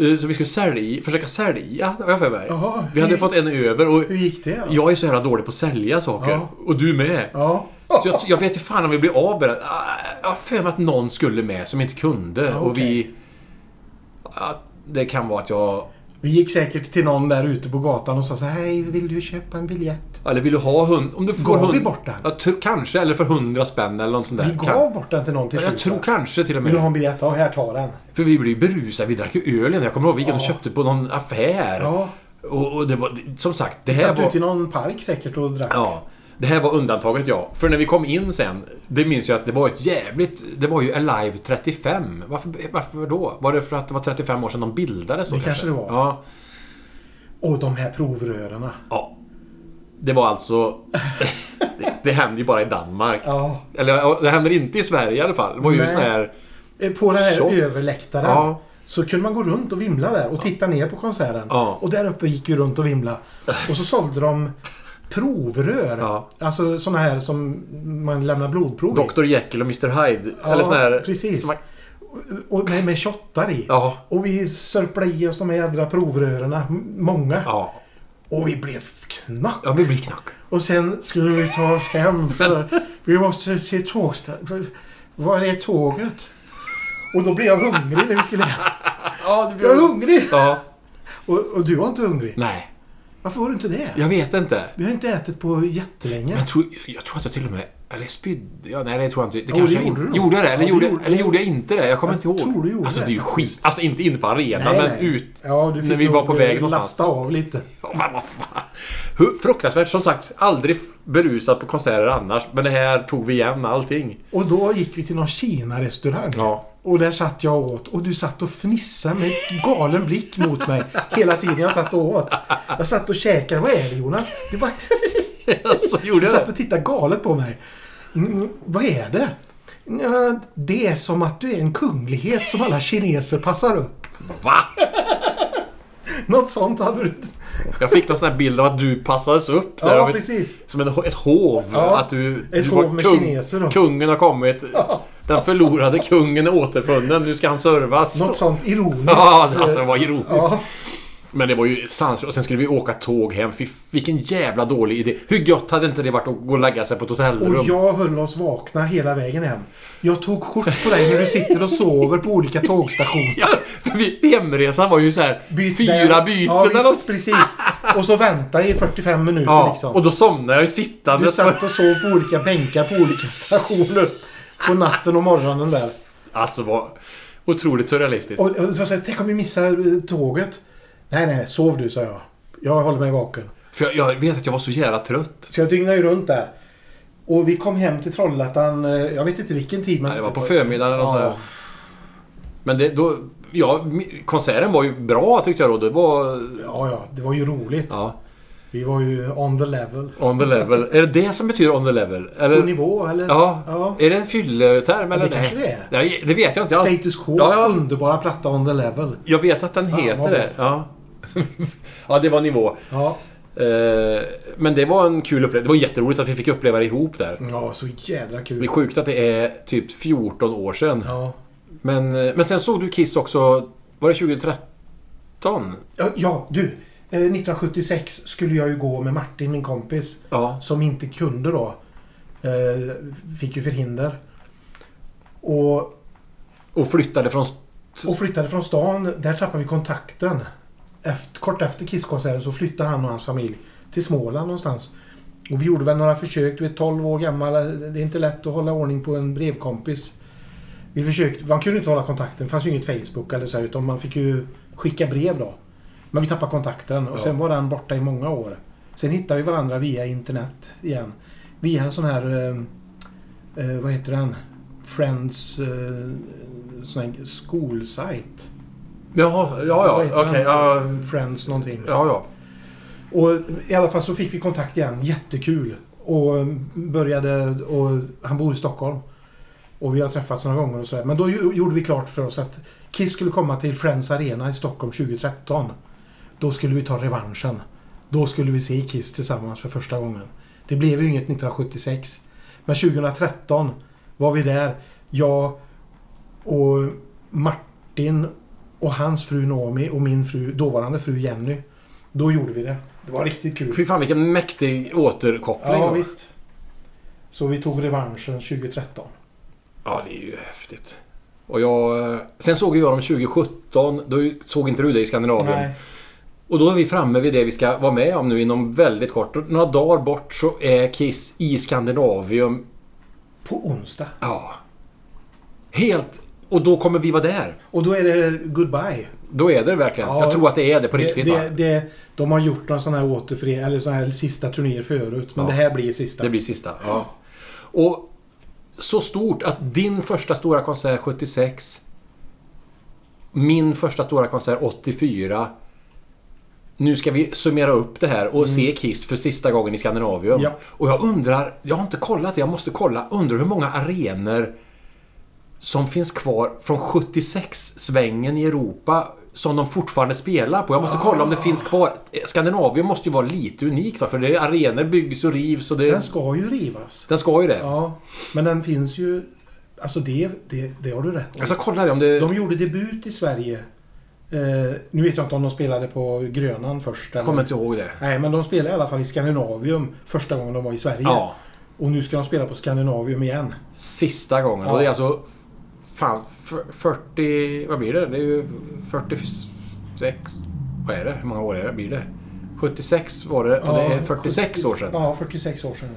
Speaker 2: eh, som vi skulle sälja, försöka sälja, har jag för mig.
Speaker 3: Jaha.
Speaker 2: Vi hade
Speaker 3: Hur-
Speaker 2: fått en över och
Speaker 3: Hur gick det då?
Speaker 2: jag är så jävla dålig på att sälja saker.
Speaker 3: Ja.
Speaker 2: Och du med.
Speaker 3: Ja.
Speaker 2: Så jag, jag vet inte fan om vi blev av med det. Ah, Jag har för mig att någon skulle med som inte kunde. Och
Speaker 3: okej.
Speaker 2: vi... Ah, Det kan vara att jag...
Speaker 3: Vi gick säkert till någon där ute på gatan och sa så här, Hej, vill du köpa en biljett?
Speaker 2: Eller vill du ha hund... Om du får
Speaker 3: Gav
Speaker 2: hund...
Speaker 3: vi bort den?
Speaker 2: Ja, tr- kanske. Eller för hundra spänn eller något sånt där.
Speaker 3: Vi gav bort den till någon till
Speaker 2: kan... Jag
Speaker 3: slut.
Speaker 2: tror
Speaker 3: va?
Speaker 2: kanske till och med
Speaker 3: Vill du ha en biljett? Ja, här, ta den.
Speaker 2: För vi blev ju berusade. Vi drack ju öl igen. Jag kommer ihåg vi gick och köpte på någon affär.
Speaker 3: Ja.
Speaker 2: Och, och det var... Som sagt, det
Speaker 3: Vi
Speaker 2: här
Speaker 3: satt ute i
Speaker 2: var...
Speaker 3: någon park säkert och drack.
Speaker 2: Ja. Det här var undantaget, ja. För när vi kom in sen, det minns jag att det var ett jävligt... Det var ju Alive 35. Varför, varför då? Var det för att det var 35 år sedan de bildades då
Speaker 3: Det kanske det var.
Speaker 2: Ja.
Speaker 3: Och de här provrörarna.
Speaker 2: ja. Det var alltså... det, det hände ju bara i Danmark.
Speaker 3: Ja.
Speaker 2: Eller det händer inte i Sverige i alla fall. Det var ju
Speaker 3: Nej.
Speaker 2: sån här...
Speaker 3: Eh, På den här
Speaker 2: Shots.
Speaker 3: överläktaren.
Speaker 2: Ja.
Speaker 3: Så kunde man gå runt och vimla där och titta ner på konserten.
Speaker 2: Ja.
Speaker 3: Och där uppe gick vi runt och vimla. Och så sålde de provrör.
Speaker 2: Ja.
Speaker 3: Alltså såna här som man lämnar blodprov i.
Speaker 2: Dr Jekyll och Mr Hyde.
Speaker 3: Ja,
Speaker 2: eller sån här...
Speaker 3: precis.
Speaker 2: som Man,
Speaker 3: Och med, med shottar i.
Speaker 2: ja.
Speaker 3: Och vi sörplade i oss de här jädra provrörerna. M- Många.
Speaker 2: Ja.
Speaker 3: Och vi blev knapp.
Speaker 2: Ja, vi blir knack.
Speaker 3: Och sen skulle vi ta oss hem för vi måste till tågstationen. Var är tåget? Och då blev jag hungrig när vi skulle hem.
Speaker 2: Ja,
Speaker 3: Jag är hungrig!
Speaker 2: Ja.
Speaker 3: Och, och du var inte hungrig.
Speaker 2: Nej,
Speaker 3: Varför var du inte det?
Speaker 2: jag vet inte.
Speaker 3: Vi har inte ätit på jättelänge.
Speaker 2: Jag tror, jag tror att jag till och med... Eller jag spydde... Ja, nej, det tror jag inte. Det
Speaker 3: det
Speaker 2: kanske jag
Speaker 3: gjorde
Speaker 2: inte...
Speaker 3: du nog.
Speaker 2: Gjorde jag det? Eller,
Speaker 3: Ja, det
Speaker 2: gjorde,
Speaker 3: gjorde-
Speaker 2: eller gjorde jag inte det? Jag kommer
Speaker 3: Jag
Speaker 2: inte ihåg.
Speaker 3: tror du gjorde
Speaker 2: alltså, det är ju
Speaker 3: det,
Speaker 2: skit. Alltså, inte inne på arenan, men ut.
Speaker 3: Ja, du fick
Speaker 2: när vi
Speaker 3: nog
Speaker 2: var på väg någonstans.
Speaker 3: Lasta av lite.
Speaker 2: Ja, men vad fan. Hur- Fruktansvärt. Som sagt, aldrig f- berusad på konserter annars. Men det här tog vi igen allting.
Speaker 3: Och då gick vi till någon Kina-restaurang.
Speaker 2: Ja.
Speaker 3: Och där satt jag och åt. Och du satt och fnissade med galen blick mot mig hela tiden jag satt och åt. Jag satt och käkade. Vad är det Jonas? Du, bara,
Speaker 2: Alltså, gjorde
Speaker 3: du
Speaker 2: jag
Speaker 3: satt
Speaker 2: det?
Speaker 3: och tittade galet på mig. Mm, vad är det? Ja, det är som att du är en kunglighet som alla kineser passar upp.
Speaker 2: Va?
Speaker 3: Något sånt hade du...
Speaker 2: Jag fick någon sån här bild av att du passades upp där. av
Speaker 3: Ja,
Speaker 2: ett-
Speaker 3: precis.
Speaker 2: Som en, ett hov.
Speaker 3: Ja,
Speaker 2: att du,
Speaker 3: ett
Speaker 2: du
Speaker 3: hov
Speaker 2: var
Speaker 3: med kineser då.
Speaker 2: Kungen har kommit. Den förlorade kungen är återfunnen. Nu ska han servas.
Speaker 3: Något sånt ironiskt.
Speaker 2: Ja, alltså det var ironiskt.
Speaker 3: Ja.
Speaker 2: Men det var ju sans. Och sen skulle vi åka tåg hem. Fy, vilken jävla dålig idé. Hur gött hade inte det varit att gå och lägga sig på ett hotellrum?
Speaker 3: Och jag höll oss vakna hela vägen hem. Jag tog kort på dig när du sitter och sover på olika tågstationer.
Speaker 2: Ja, för vi, hemresan var ju så här
Speaker 3: Byt
Speaker 2: fyra
Speaker 3: där.
Speaker 2: byten
Speaker 3: ja,
Speaker 2: eller
Speaker 3: visst,
Speaker 2: något.
Speaker 3: precis. Och så vänta i 45 minuter
Speaker 2: Ja,
Speaker 3: liksom.
Speaker 2: och då somnade jag ju sittande.
Speaker 3: du satt och sov på olika bänkar på olika stationer. På natten och morgonen där.
Speaker 2: Alltså vad otroligt surrealistiskt.
Speaker 3: Och, och så sa jag, tänk om vi missar eh, tåget. Nej, nej, sov du, sa jag. Jag håller mig vaken.
Speaker 2: För jag, jag vet att jag var så jävla trött.
Speaker 3: Så jag dygnade ju runt där. Och vi kom hem till Trollhättan, eh, jag vet inte vilken tid, men...
Speaker 2: Nej, det var på förmiddagen eller något sånt
Speaker 3: Ja.
Speaker 2: där. Men det, då... Ja, mi- konserten var ju bra tyckte jag då. Det var...
Speaker 3: Ja, ja, det var ju roligt.
Speaker 2: Ja.
Speaker 3: Vi var ju on the level.
Speaker 2: On the level. Är det det som betyder on the level?
Speaker 3: På
Speaker 2: Eller,
Speaker 3: nivå, eller?
Speaker 2: ja.
Speaker 3: ja.
Speaker 2: Är det en fylleterm eller?
Speaker 3: det kanske det är.
Speaker 2: Nej, det vet jag inte. Jag,
Speaker 3: Status Quos
Speaker 2: Ja, ja.
Speaker 3: underbara platta on the level.
Speaker 2: jag vet att den
Speaker 3: Fan,
Speaker 2: heter
Speaker 3: vad
Speaker 2: det. Ja. ja, det var nivå.
Speaker 3: Ja,
Speaker 2: Eh, Men det var en kul upplevelse. Det var jätteroligt att vi fick uppleva det ihop där.
Speaker 3: ja så jädra
Speaker 2: Det är
Speaker 3: kul.
Speaker 2: sjukt att det är typ 14 år sedan.
Speaker 3: Ja.
Speaker 2: Men, eh, men sen såg du Kiss också... Var det 2013?
Speaker 3: Ja, ja, du. eh, 1976 skulle jag ju gå med Martin, min kompis,
Speaker 2: Ja.
Speaker 3: som inte kunde då. Eh, Fick ju förhinder. Och,
Speaker 2: Och flyttade från... st-
Speaker 3: och flyttade från stan. Där tappade vi kontakten. Efter, kort efter Kisskonserten så flyttade han och hans familj till Småland någonstans. Och vi gjorde väl några försök. Du är 12 år gammal. Det är inte lätt att hålla ordning på en brevkompis. Vi försökte. Man kunde inte hålla kontakten. Det fanns ju inget Facebook eller så här, utan man fick ju skicka brev då. Men vi tappade kontakten och
Speaker 2: Ja.
Speaker 3: sen var den borta i många år. Sen hittade vi varandra via internet igen. Via en sån här... eh, Eh, vad heter den? Friends... Eh, sån här skolsajt.
Speaker 2: Jaha,
Speaker 3: Vad
Speaker 2: ja,
Speaker 3: heter
Speaker 2: ja, okej.
Speaker 3: den?
Speaker 2: ja,
Speaker 3: Friends någonting.
Speaker 2: ja, ja.
Speaker 3: Och i alla fall så fick vi kontakt igen. Jättekul. Och började... Och han bor i Stockholm. Och vi har träffats några gånger och sådär. Men då ju- gjorde vi klart för oss att Kiss skulle komma till Friends Arena i Stockholm 2013. Då skulle vi ta revanschen. Då skulle vi se Kiss tillsammans för första gången. Det blev ju inget 1976. Men 2013 var vi där. Jag och Martin och hans fru Naomi och min fru, dåvarande fru Jenny. Då gjorde vi det. Det var riktigt kul.
Speaker 2: Fy fan vilken mäktig återkoppling.
Speaker 3: Ja, visst. Så vi tog revanschen 2013.
Speaker 2: Ja, det är ju häftigt. Och jag, eh, sen såg ju jag dem 2017. Då såg inte du det i Skandinavien.
Speaker 3: Nej.
Speaker 2: Och då är vi framme vid det vi ska vara med om nu inom väldigt kort. Och Några dagar bort så är Kiss i Skandinavium.
Speaker 3: På onsdag.
Speaker 2: Ja. Helt... Och då kommer vi vara där.
Speaker 3: Och då är det goodbye.
Speaker 2: Då är det verkligen.
Speaker 3: Ja,
Speaker 2: jag tror att det är det på
Speaker 3: Det-
Speaker 2: riktigt. va?
Speaker 3: det, det, de har gjort några sådana här återförening, eller sådana här sista turnéer förut. Men
Speaker 2: Ja.
Speaker 3: det här blir sista.
Speaker 2: Det blir sista. Ja. Och så stort att din första stora konsert 76. Min första stora konsert 84. Nu ska vi summera upp det här och se Kiss för sista gången i Skandinavium.
Speaker 3: Mm. Ja.
Speaker 2: Och jag undrar, jag har inte kollat det, jag måste kolla. Undrar hur många arenor som finns kvar från 76-svängen i Europa som de fortfarande spelar på. Jag måste kolla
Speaker 3: Ah.
Speaker 2: om det finns kvar. Skandinavien måste ju vara lite unikt va? för det är arenor byggs och rivs och det...
Speaker 3: Den ska ju rivas.
Speaker 2: Den ska ju det.
Speaker 3: Ja. Men den finns ju... Alltså det, det, det har du rätt i.
Speaker 2: Jag ska kolla det om det...
Speaker 3: De gjorde debut i Sverige. Eh, nu vet jag inte om de spelade på Grönan först. Eller...
Speaker 2: Jag kommer inte ihåg det.
Speaker 3: Nej, men de spelade i alla fall i Skandinavium första gången de var i Sverige.
Speaker 2: Ja.
Speaker 3: Och nu ska de spela på Skandinavium igen.
Speaker 2: Sista gången.
Speaker 3: Ja.
Speaker 2: Och det är alltså... Fan, f- 40... Vad blir det? Det är ju 46... Vad är det? Hur många år är det? Blir det? 76 var det och det är 46 år sedan.
Speaker 3: Ja, 46 år sedan.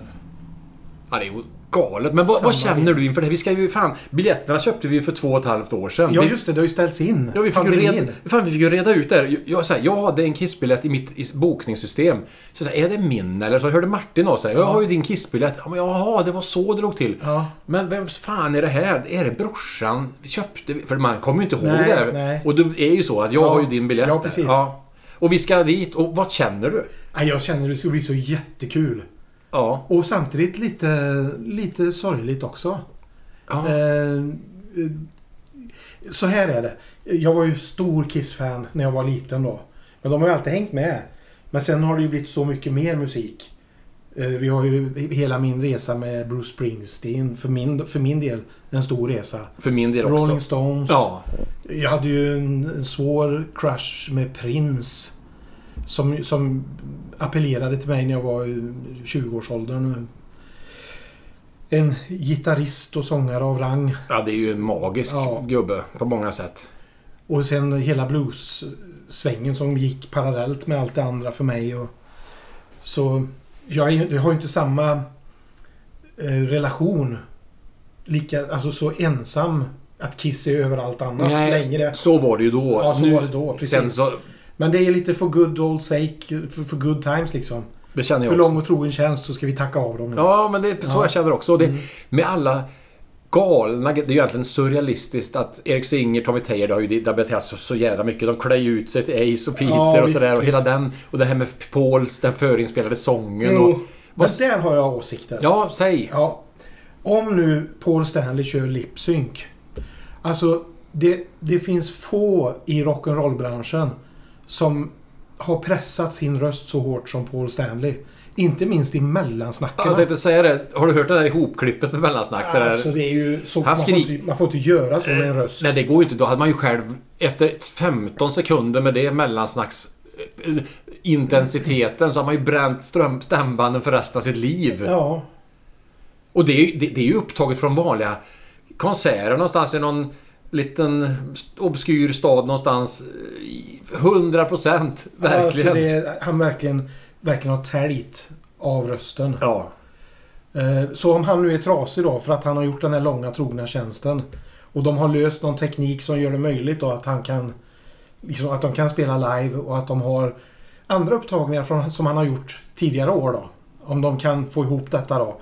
Speaker 2: Ja, det är ju galet. Men vad,
Speaker 3: Samma
Speaker 2: vad känner du inför det? här? Vi ska ju... Fan, biljetterna köpte vi ju för två och ett halvt år sedan.
Speaker 3: Ja,
Speaker 2: Vi-
Speaker 3: just det. Det har ju ställts in.
Speaker 2: Ja, vi fick, ju
Speaker 3: Pandemin.
Speaker 2: reda, fan, vi fick ju reda ut det här. Jag, jag, så här, jag hade en kissbiljett i mitt i- bokningssystem. Så, jag så här, är det min eller? Så hörde Martin av sig. Jag har ju din kissbiljett. Ja, men Jaha, det var så det låg till.
Speaker 3: Ja.
Speaker 2: Men vem fan är det här? Är det brorsan? Vi köpte... För man kommer ju inte ihåg
Speaker 3: Nej,
Speaker 2: det här.
Speaker 3: nej.
Speaker 2: Och det är ju så att jag
Speaker 3: Ja.
Speaker 2: har ju din biljett.
Speaker 3: Ja,
Speaker 2: där.
Speaker 3: precis.
Speaker 2: Och vi ska dit. Och vad känner du?
Speaker 3: Nej, jag känner att det ska bli så jättekul.
Speaker 2: Ja.
Speaker 3: Och samtidigt lite, lite sorgligt också.
Speaker 2: Ja.
Speaker 3: Eh, eh, så här är det. Jag var ju stor Kiss-fan när jag var liten då. Men de har ju alltid hängt med. Men sen har det ju blivit så mycket mer musik. Eh, Vi har ju hela min resa med Bruce Springsteen, för min, för min del, en stor resa.
Speaker 2: För min del också.
Speaker 3: Rolling Stones.
Speaker 2: Ja.
Speaker 3: Jag hade ju en en svår crush med Prince. Som, som appellerade till mig när jag var i 20-årsåldern. En gitarrist och sångare av rang.
Speaker 2: ja, det är ju en magisk
Speaker 3: Ja.
Speaker 2: gubbe på många sätt.
Speaker 3: Och sen hela blues-svängen som gick parallellt med allt det andra för mig. Och, så jag, är, ju- jag har ju inte samma eh, relation. Lika, alltså så ensam att Kiss är överallt annat längre.
Speaker 2: så var det ju då.
Speaker 3: Ja, så var det då, precis.
Speaker 2: Sen så...
Speaker 3: Men det är lite for good old sake, for, for good times liksom.
Speaker 2: Det känner jag
Speaker 3: För
Speaker 2: också.
Speaker 3: lång och trogen tjänst så ska vi tacka av dem nu.
Speaker 2: Mm. Ja, men det är så
Speaker 3: Ja. Mm.
Speaker 2: jag känner också. Och Det, Med alla galna... Det är ju egentligen surrealistiskt att Eric Singer, Tommy Thayer, det har ju debatterats alltså så, så jävla mycket. De klär ju ut sig till Ace och Peter
Speaker 3: Ja,
Speaker 2: och
Speaker 3: visst,
Speaker 2: sådär. Och hela
Speaker 3: visst.
Speaker 2: den... Och det här med Pauls, den förinspelade sången och...
Speaker 3: Men
Speaker 2: Vad,
Speaker 3: där har jag åsikter.
Speaker 2: ja, säg.
Speaker 3: Ja. Om nu Paul Stanley kör lip-sync. Alltså, det, det finns få i rock'n'roll-branschen som har pressat sin röst så hårt som Paul Stanley. Inte minst i mellansnacken.
Speaker 2: Jag tänkte säga det. Har du hört det där ihopklippet med mellansnack? det där?
Speaker 3: Alltså, det är ju så,
Speaker 2: Han
Speaker 3: man, får
Speaker 2: skri-
Speaker 3: inte, man får inte göra så med en röst.
Speaker 2: Nej, det går ju inte. Då hade man ju själv... Efter 15 sekunder med det mellansnacks... eh, Intensiteten så har man ju bränt ström, stämbanden för resten av sitt liv.
Speaker 3: Ja.
Speaker 2: Och det, är ju- det, det är ju upptaget från vanliga konserter någonstans i någon liten obskyr stad någonstans. i 100 procent, verkligen.
Speaker 3: Alltså det, han verkligen, verkligen har täljt av rösten.
Speaker 2: Ja.
Speaker 3: Eh, Så om han nu är trasig då för att han har gjort den här långa trogna tjänsten och de har löst någon teknik som gör det möjligt då att han kan liksom, att de kan spela live och att de har andra upptagningar från, som han har gjort tidigare år då. Om de kan få ihop detta då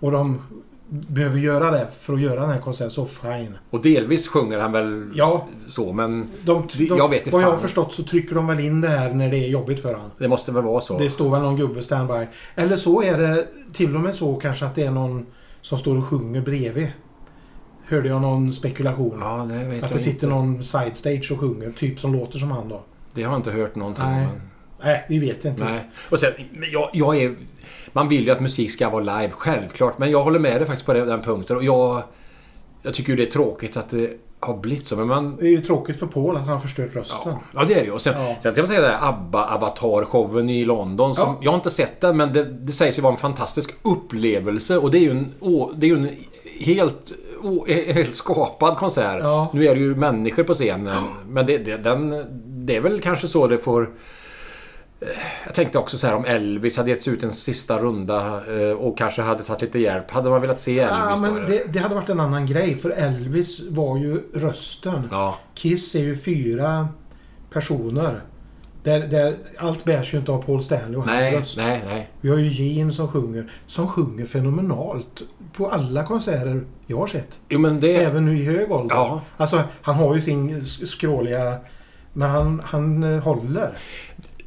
Speaker 3: och de behöver göra det för att göra den här konserten så fine.
Speaker 2: Och delvis sjunger han väl
Speaker 3: Ja,
Speaker 2: så, men
Speaker 3: de, de,
Speaker 2: Jag vet inte
Speaker 3: vad jag
Speaker 2: fan.
Speaker 3: har förstått så trycker de väl in det här när det är jobbigt för honom.
Speaker 2: det måste väl vara så.
Speaker 3: Det står väl någon gubbe standby. Eller så är det till och med så kanske att det är någon som står och sjunger bredvid. Hörde jag någon spekulation.
Speaker 2: Ja, det vet
Speaker 3: att
Speaker 2: jag
Speaker 3: det sitter
Speaker 2: inte.
Speaker 3: någon side stage och sjunger. Typ som låter som han då.
Speaker 2: Det har jag inte hört någonting
Speaker 3: Nej.
Speaker 2: om.
Speaker 3: Nej, vi vet inte.
Speaker 2: Nej. Och sen, men jag, jag är... Man vill ju att musik ska vara live, självklart. Men jag håller med dig faktiskt på den- den punkten. Och jag... Jag tycker ju det är tråkigt att det har blivit så, men man...
Speaker 3: Det är ju tråkigt för Paul att han har förstört rösten.
Speaker 2: Ja, ja det är det ju. Och Sen,
Speaker 3: Ja.
Speaker 2: sen tänkte jag på den här ABBA-avatar-showen i London. Som,
Speaker 3: Ja.
Speaker 2: Jag har inte sett den, men det, det sägs ju vara en fantastisk upplevelse. Och det är ju en, å, det är ju en helt, å, helt skapad konsert.
Speaker 3: Ja.
Speaker 2: Nu är det ju människor på scenen, men det, det, den, det är väl kanske så det får... eh, Jag tänkte också så här om Elvis hade getts ut en sista runda eh, och kanske hade tagit lite hjälp. Hade man velat se
Speaker 3: Ja,
Speaker 2: Elvis då?
Speaker 3: men det, det hade varit en annan grej för Elvis var ju rösten.
Speaker 2: Ja.
Speaker 3: Kiss är ju fyra personer. Där, där allt bärs ju inte av Paul Stanley och hans
Speaker 2: Nej,
Speaker 3: röst.
Speaker 2: nej, nej.
Speaker 3: Vi har ju Gene som sjunger. Som sjunger fenomenalt på alla konserter jag har sett.
Speaker 2: Jo, men det...
Speaker 3: Även nu i hög ålder.
Speaker 2: Ja.
Speaker 3: Alltså, han har ju sin sk- skråliga... Men han, han eh, håller.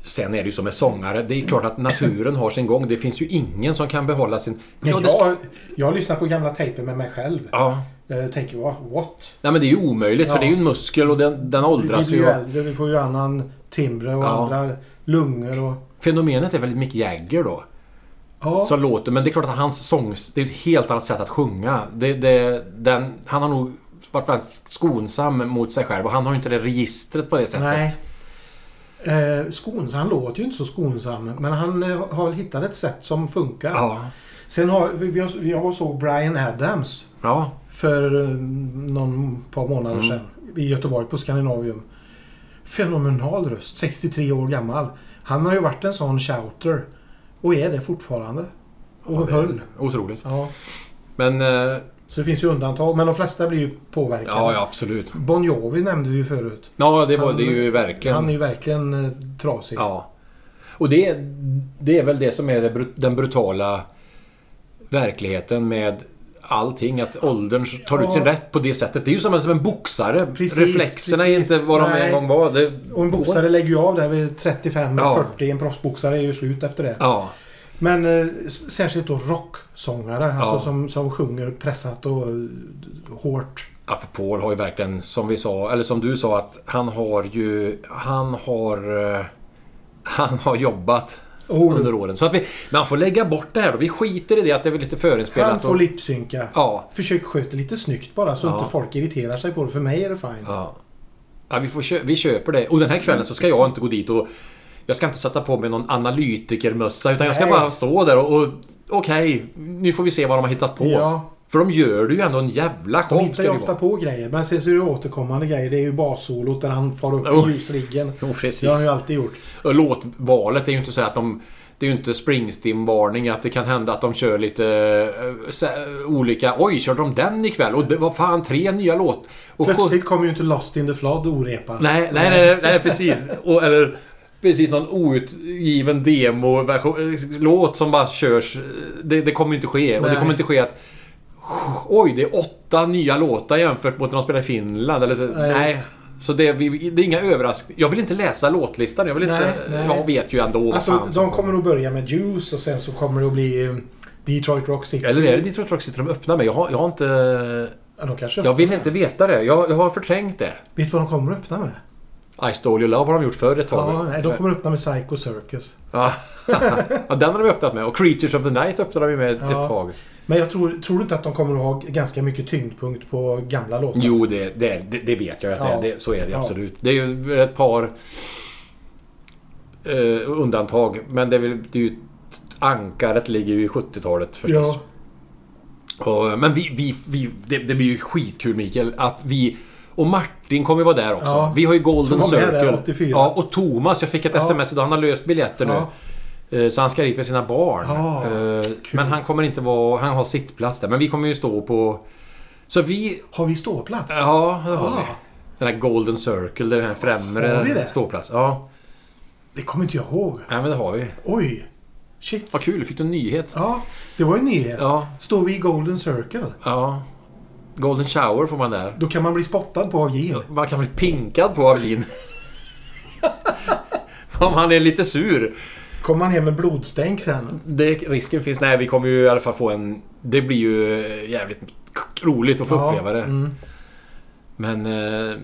Speaker 2: Sen är det ju som med sångare. Det är klart att naturen har sin gång. Det finns ju ingen som kan behålla sin...
Speaker 3: Ja,
Speaker 2: det
Speaker 3: jag, jag lyssnar på gamla tejper med mig själv.
Speaker 2: ja.
Speaker 3: Jag tänker, va, what?
Speaker 2: Nej men det är ju omöjligt för
Speaker 3: Ja.
Speaker 2: det är ju en muskel och den, den
Speaker 3: Vi
Speaker 2: åldras
Speaker 3: blir
Speaker 2: ju.
Speaker 3: ju äldre, vi får ju annan timbre och
Speaker 2: Ja.
Speaker 3: andra lungor och...
Speaker 2: Fenomenet är väl Mick Jagger då?
Speaker 3: Ja,
Speaker 2: Som låter... Men det är klart att hans sång... Det är ju ett helt annat sätt att sjunga. Det, det, den, han har nog varit väldigt skonsam mot sig själv och han har ju inte det registret på det sättet.
Speaker 3: nej. Eh, skonsam, han låter ju inte så skonsam. Men han eh, har hittat ett sätt som funkar.
Speaker 2: Ja.
Speaker 3: Sen har vi, vi, har- jag var och såg Brian Adams
Speaker 2: Ja.
Speaker 3: för eh, någon par månader
Speaker 2: Mm.
Speaker 3: sedan i Göteborg på Scandinavium. Fenomenal röst, 63 år gammal. Han har ju varit en sån shouter och är det fortfarande. Och höll.
Speaker 2: Otroligt.
Speaker 3: Ja.
Speaker 2: Men... eh,
Speaker 3: Så det finns ju undantag, men de flesta blir ju påverkade.
Speaker 2: Ja, ja absolut.
Speaker 3: Bon Jovi nämnde vi ju förut.
Speaker 2: Ja, det, var,
Speaker 3: Han-
Speaker 2: det är ju verkligen...
Speaker 3: Han är ju verkligen eh, trasig.
Speaker 2: Ja. Och det, det är väl det som är det, bru- den brutala verkligheten med allting. Att åldern tar ut sin
Speaker 3: Ja.
Speaker 2: rätt på det sättet. Det är ju som en, som en boxare.
Speaker 3: Precis,
Speaker 2: Reflexerna
Speaker 3: precis.
Speaker 2: är inte vad de
Speaker 3: Nej.
Speaker 2: en gång var. Det,
Speaker 3: Och en boxare lägger ju av där vid 35
Speaker 2: Ja.
Speaker 3: 40. En proffsboxare är ju slut efter det.
Speaker 2: Ja.
Speaker 3: Men eh, s- särskilt då rocksångare. Alltså
Speaker 2: Ja.
Speaker 3: som, som sjunger pressat och eh, hårt.
Speaker 2: Ja, för Paul har ju verkligen, som vi sa, eller som du sa, att han har ju... Han har... eh, Han har jobbat
Speaker 3: Oh,
Speaker 2: under åren. Så att vi... Man får lägga bort det här då. Vi skiter i det att det är lite förinspelat.
Speaker 3: Han får
Speaker 2: och-
Speaker 3: lipsynka.
Speaker 2: Ja.
Speaker 3: Försök sköta det lite snyggt bara så
Speaker 2: Ja.
Speaker 3: inte folk irriterar sig på det. För mig är det fine.
Speaker 2: Ja. ja vi, får kö- vi köper det. Och den här kvällen så ska jag inte gå dit och... Jag ska inte sätta på mig någon analytikermössa utan jag ska
Speaker 3: Nej.
Speaker 2: bara stå där och... och Okej, nu får vi se vad de har hittat på.
Speaker 3: Ja.
Speaker 2: För de gör det ju ändå en jävla
Speaker 3: De
Speaker 2: show.
Speaker 3: hittar ju
Speaker 2: ska det
Speaker 3: ofta
Speaker 2: vara.
Speaker 3: på grejer. Men sen så är det återkommande grejer. Det är ju bassolot där han far upp
Speaker 2: Oh.
Speaker 3: i ljusriggen.
Speaker 2: Jo, precis.
Speaker 3: Det har han ju alltid gjort.
Speaker 2: Och Låtvalet är ju inte så att de... Det är ju inte Springsteen-varning att det kan hända att de kör lite eh, sä- olika... Oj, körde de den ikväll? Och det var fan tre nya låt... Och sjut-
Speaker 3: Plötsligt kommer ju inte Lost in the Flood orepad.
Speaker 2: Nej, nej, nej, nej, nej precis. Och, eller precis någon outgiven demo version- eh, låt som bara körs. Det, det kommer ju inte ske. Och det
Speaker 3: Nej.
Speaker 2: kommer inte ske att Oj, det är åtta nya låtar jämfört mot när de spelar i Finland. Eller så,
Speaker 3: Nej,
Speaker 2: nej.
Speaker 3: just.
Speaker 2: Så det, är- vi- det är inga överraskningar. Jag vill inte läsa låtlistan. Jag vill inte...
Speaker 3: Nej, nej.
Speaker 2: Jag vet ju ändå vad
Speaker 3: Alltså,
Speaker 2: fan som
Speaker 3: de kommer nog börja med Juice och sen så kommer det att bli eh, Detroit Rock City.
Speaker 2: Eller är det Detroit Rock City de öppnar med? Jag har, jag har inte...
Speaker 3: Ja, de kanske
Speaker 2: Jag vill inte veta det. Jag, jag har förträngt det.
Speaker 3: Vet du vad de kommer att öppna med?
Speaker 2: I Stole Your Love har de gjort förr ett tag.
Speaker 3: Ja, nej, de kommer att öppna med Psycho Circus.
Speaker 2: Ja. ja, den har de öppnat med. Och Creatures of the Night öppnade vi med
Speaker 3: Ja.
Speaker 2: ett tag.
Speaker 3: Men jag tror, tror du inte att de kommer att ha ganska mycket tyngdpunkt på gamla låtar?
Speaker 2: Jo, det, det, det, det vet jag att det,
Speaker 3: Ja.
Speaker 2: är. det Så är det
Speaker 3: Ja.
Speaker 2: absolut. Det är ju ett par eh, undantag. Men det är, väl, det är ju... Ankaret ligger ju i 70-talet förstås.
Speaker 3: Ja.
Speaker 2: Och, eh, men vi, vi, vi, det, det blir ju skitkul Mikael att vi... Och Martin kommer ju vara där också.
Speaker 3: Ja.
Speaker 2: Vi har ju
Speaker 3: Som
Speaker 2: Golden
Speaker 3: var med där
Speaker 2: Circle.
Speaker 3: 84.
Speaker 2: ja, och Thomas. Jag fick ett
Speaker 3: Ja.
Speaker 2: sms idag. Han har löst biljetter
Speaker 3: Ja.
Speaker 2: nu. Eh, Så han ska dit med sina barn.
Speaker 3: Ah,
Speaker 2: Eh, men han kommer inte vara... Han har sittplats där. Men vi kommer ju stå på... Så vi...
Speaker 3: Har vi ståplats?
Speaker 2: Ja, det har
Speaker 3: Ah.
Speaker 2: vi. Den där Golden Circle, där den här
Speaker 3: Har vi
Speaker 2: främre
Speaker 3: det?
Speaker 2: ståplats. Ja.
Speaker 3: Det kommer inte jag ihåg.
Speaker 2: Nej, men det har vi.
Speaker 3: Oj! Shit.
Speaker 2: Vad kul, fick du en nyhet?
Speaker 3: Ja, det var en nyhet.
Speaker 2: Ja.
Speaker 3: Står vi i Golden Circle,
Speaker 2: Ja. Golden Shower får man där.
Speaker 3: då kan man bli spottad på av Gin.
Speaker 2: Man kan bli pinkad på av Lin. Om han är lite sur.
Speaker 3: Kommer man hem med blodstänk sen?
Speaker 2: Det, risken finns. Nej, vi kommer ju i alla fall få en... Det blir ju eh, jävligt roligt att få
Speaker 3: Ja,
Speaker 2: uppleva det.
Speaker 3: Mm.
Speaker 2: Men eh,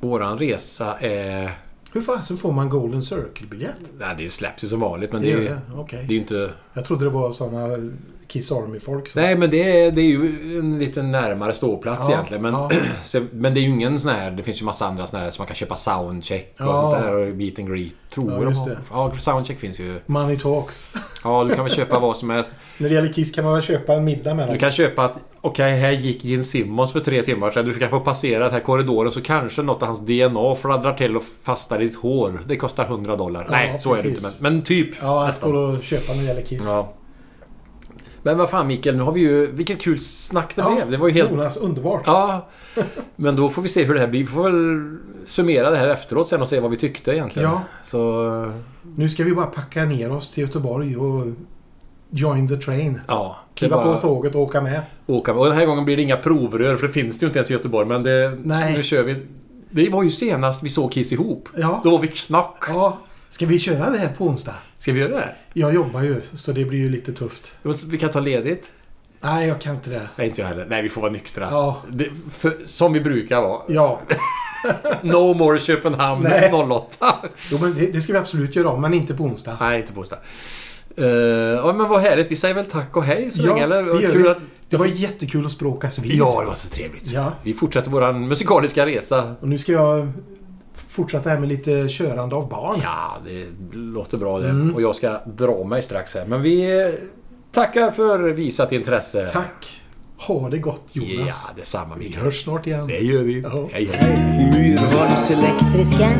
Speaker 2: våran resa är...
Speaker 3: Hur fasen får man Golden Circle-biljett?
Speaker 2: Nej, det släpps ju som vanligt men
Speaker 3: Det
Speaker 2: det,
Speaker 3: gör
Speaker 2: är,
Speaker 3: det? Okej.
Speaker 2: det är ju inte...
Speaker 3: Jag trodde det var såna Kiss Army-folk. som-
Speaker 2: Nej, men det är, det är ju en lite närmare ståplats
Speaker 3: Ja,
Speaker 2: egentligen. Men,
Speaker 3: ja.
Speaker 2: så, men det är ju ingen sån här... Det finns ju massa andra såna här som man kan köpa soundcheck och
Speaker 3: Ja.
Speaker 2: sånt där. Och meet and greet. Tror
Speaker 3: Ja,
Speaker 2: jag.
Speaker 3: just det.
Speaker 2: Ja, soundcheck finns ju.
Speaker 3: Money talks.
Speaker 2: Ja, du kan väl köpa vad som helst.
Speaker 3: När det gäller Kiss kan man väl köpa en middag med dem?
Speaker 2: Du kan köpa att okej, här gick Gene Simmons för tre timmar sedan. Du kan få passera den här korridoren så kanske något av hans DNA fladdrar till och fastnar i ditt hår. Det kostar 100 dollar.
Speaker 3: Ja,
Speaker 2: Nej, så är det
Speaker 3: precis.
Speaker 2: inte. Men, men typ.
Speaker 3: Ja, att
Speaker 2: nästan.
Speaker 3: gå och köpa när det gäller Kiss.
Speaker 2: Ja. Men vad fan Mikael, nu har vi ju... Vilket kul snack det
Speaker 3: Ja,
Speaker 2: blev. Det var ju helt...
Speaker 3: Jonas, underbart.
Speaker 2: Ja. Men då får vi se hur det här blir. Vi får väl summera det här efteråt sen och se vad vi tyckte egentligen.
Speaker 3: Ja.
Speaker 2: Så...
Speaker 3: Nu ska vi bara packa ner oss till Göteborg och join the train.
Speaker 2: Ja. det är
Speaker 3: Kliva
Speaker 2: bara
Speaker 3: på tåget och åka med.
Speaker 2: åka med. Och den här gången blir det inga provrör för det finns det ju inte ens i Göteborg. Men det,
Speaker 3: Nej.
Speaker 2: nu kör vi. Det var ju senast vi såg Kiss ihop.
Speaker 3: Ja.
Speaker 2: Då var vi knack.
Speaker 3: ja. Ska vi köra det här på onsdag?
Speaker 2: Ska vi göra det?
Speaker 3: Jag jobbar ju, så det blir ju lite tufft.
Speaker 2: Vi kan ta ledigt.
Speaker 3: Nej, jag kan inte det.
Speaker 2: Nej, inte jag heller. Nej, vi får vara nyktra.
Speaker 3: Ja.
Speaker 2: Det, för, som vi brukar vara.
Speaker 3: Ja,
Speaker 2: No more Köpenhamn
Speaker 3: Nej.
Speaker 2: 08.
Speaker 3: jo, men det, det ska vi absolut göra om, men inte på onsdag.
Speaker 2: Nej, inte på onsdag. Eh, ja, men vad härligt. Vi säger väl tack och hej så
Speaker 3: Ja,
Speaker 2: länge, eller?
Speaker 3: det gör
Speaker 2: Kul
Speaker 3: vi.
Speaker 2: att-
Speaker 3: Det var jättekul att språkas vid.
Speaker 2: Ja, det var så trevligt.
Speaker 3: Ja.
Speaker 2: Vi fortsätter våran musikaliska resa.
Speaker 3: Och nu ska jag fortsätta här med lite körande av barn.
Speaker 2: Ja, det låter bra det.
Speaker 3: Mm.
Speaker 2: Och jag ska dra mig strax här. Men vi eh, tackar för visat intresse.
Speaker 3: Tack! Ha det gott
Speaker 2: Ja,
Speaker 3: Jonas.
Speaker 2: detsamma
Speaker 3: Vi
Speaker 2: Mikael.
Speaker 3: hörs snart igen.
Speaker 2: Det gör vi.
Speaker 3: Ja.
Speaker 2: Hej, hej.
Speaker 1: Myrholms elektriska.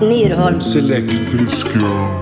Speaker 1: Myrholms elektriska.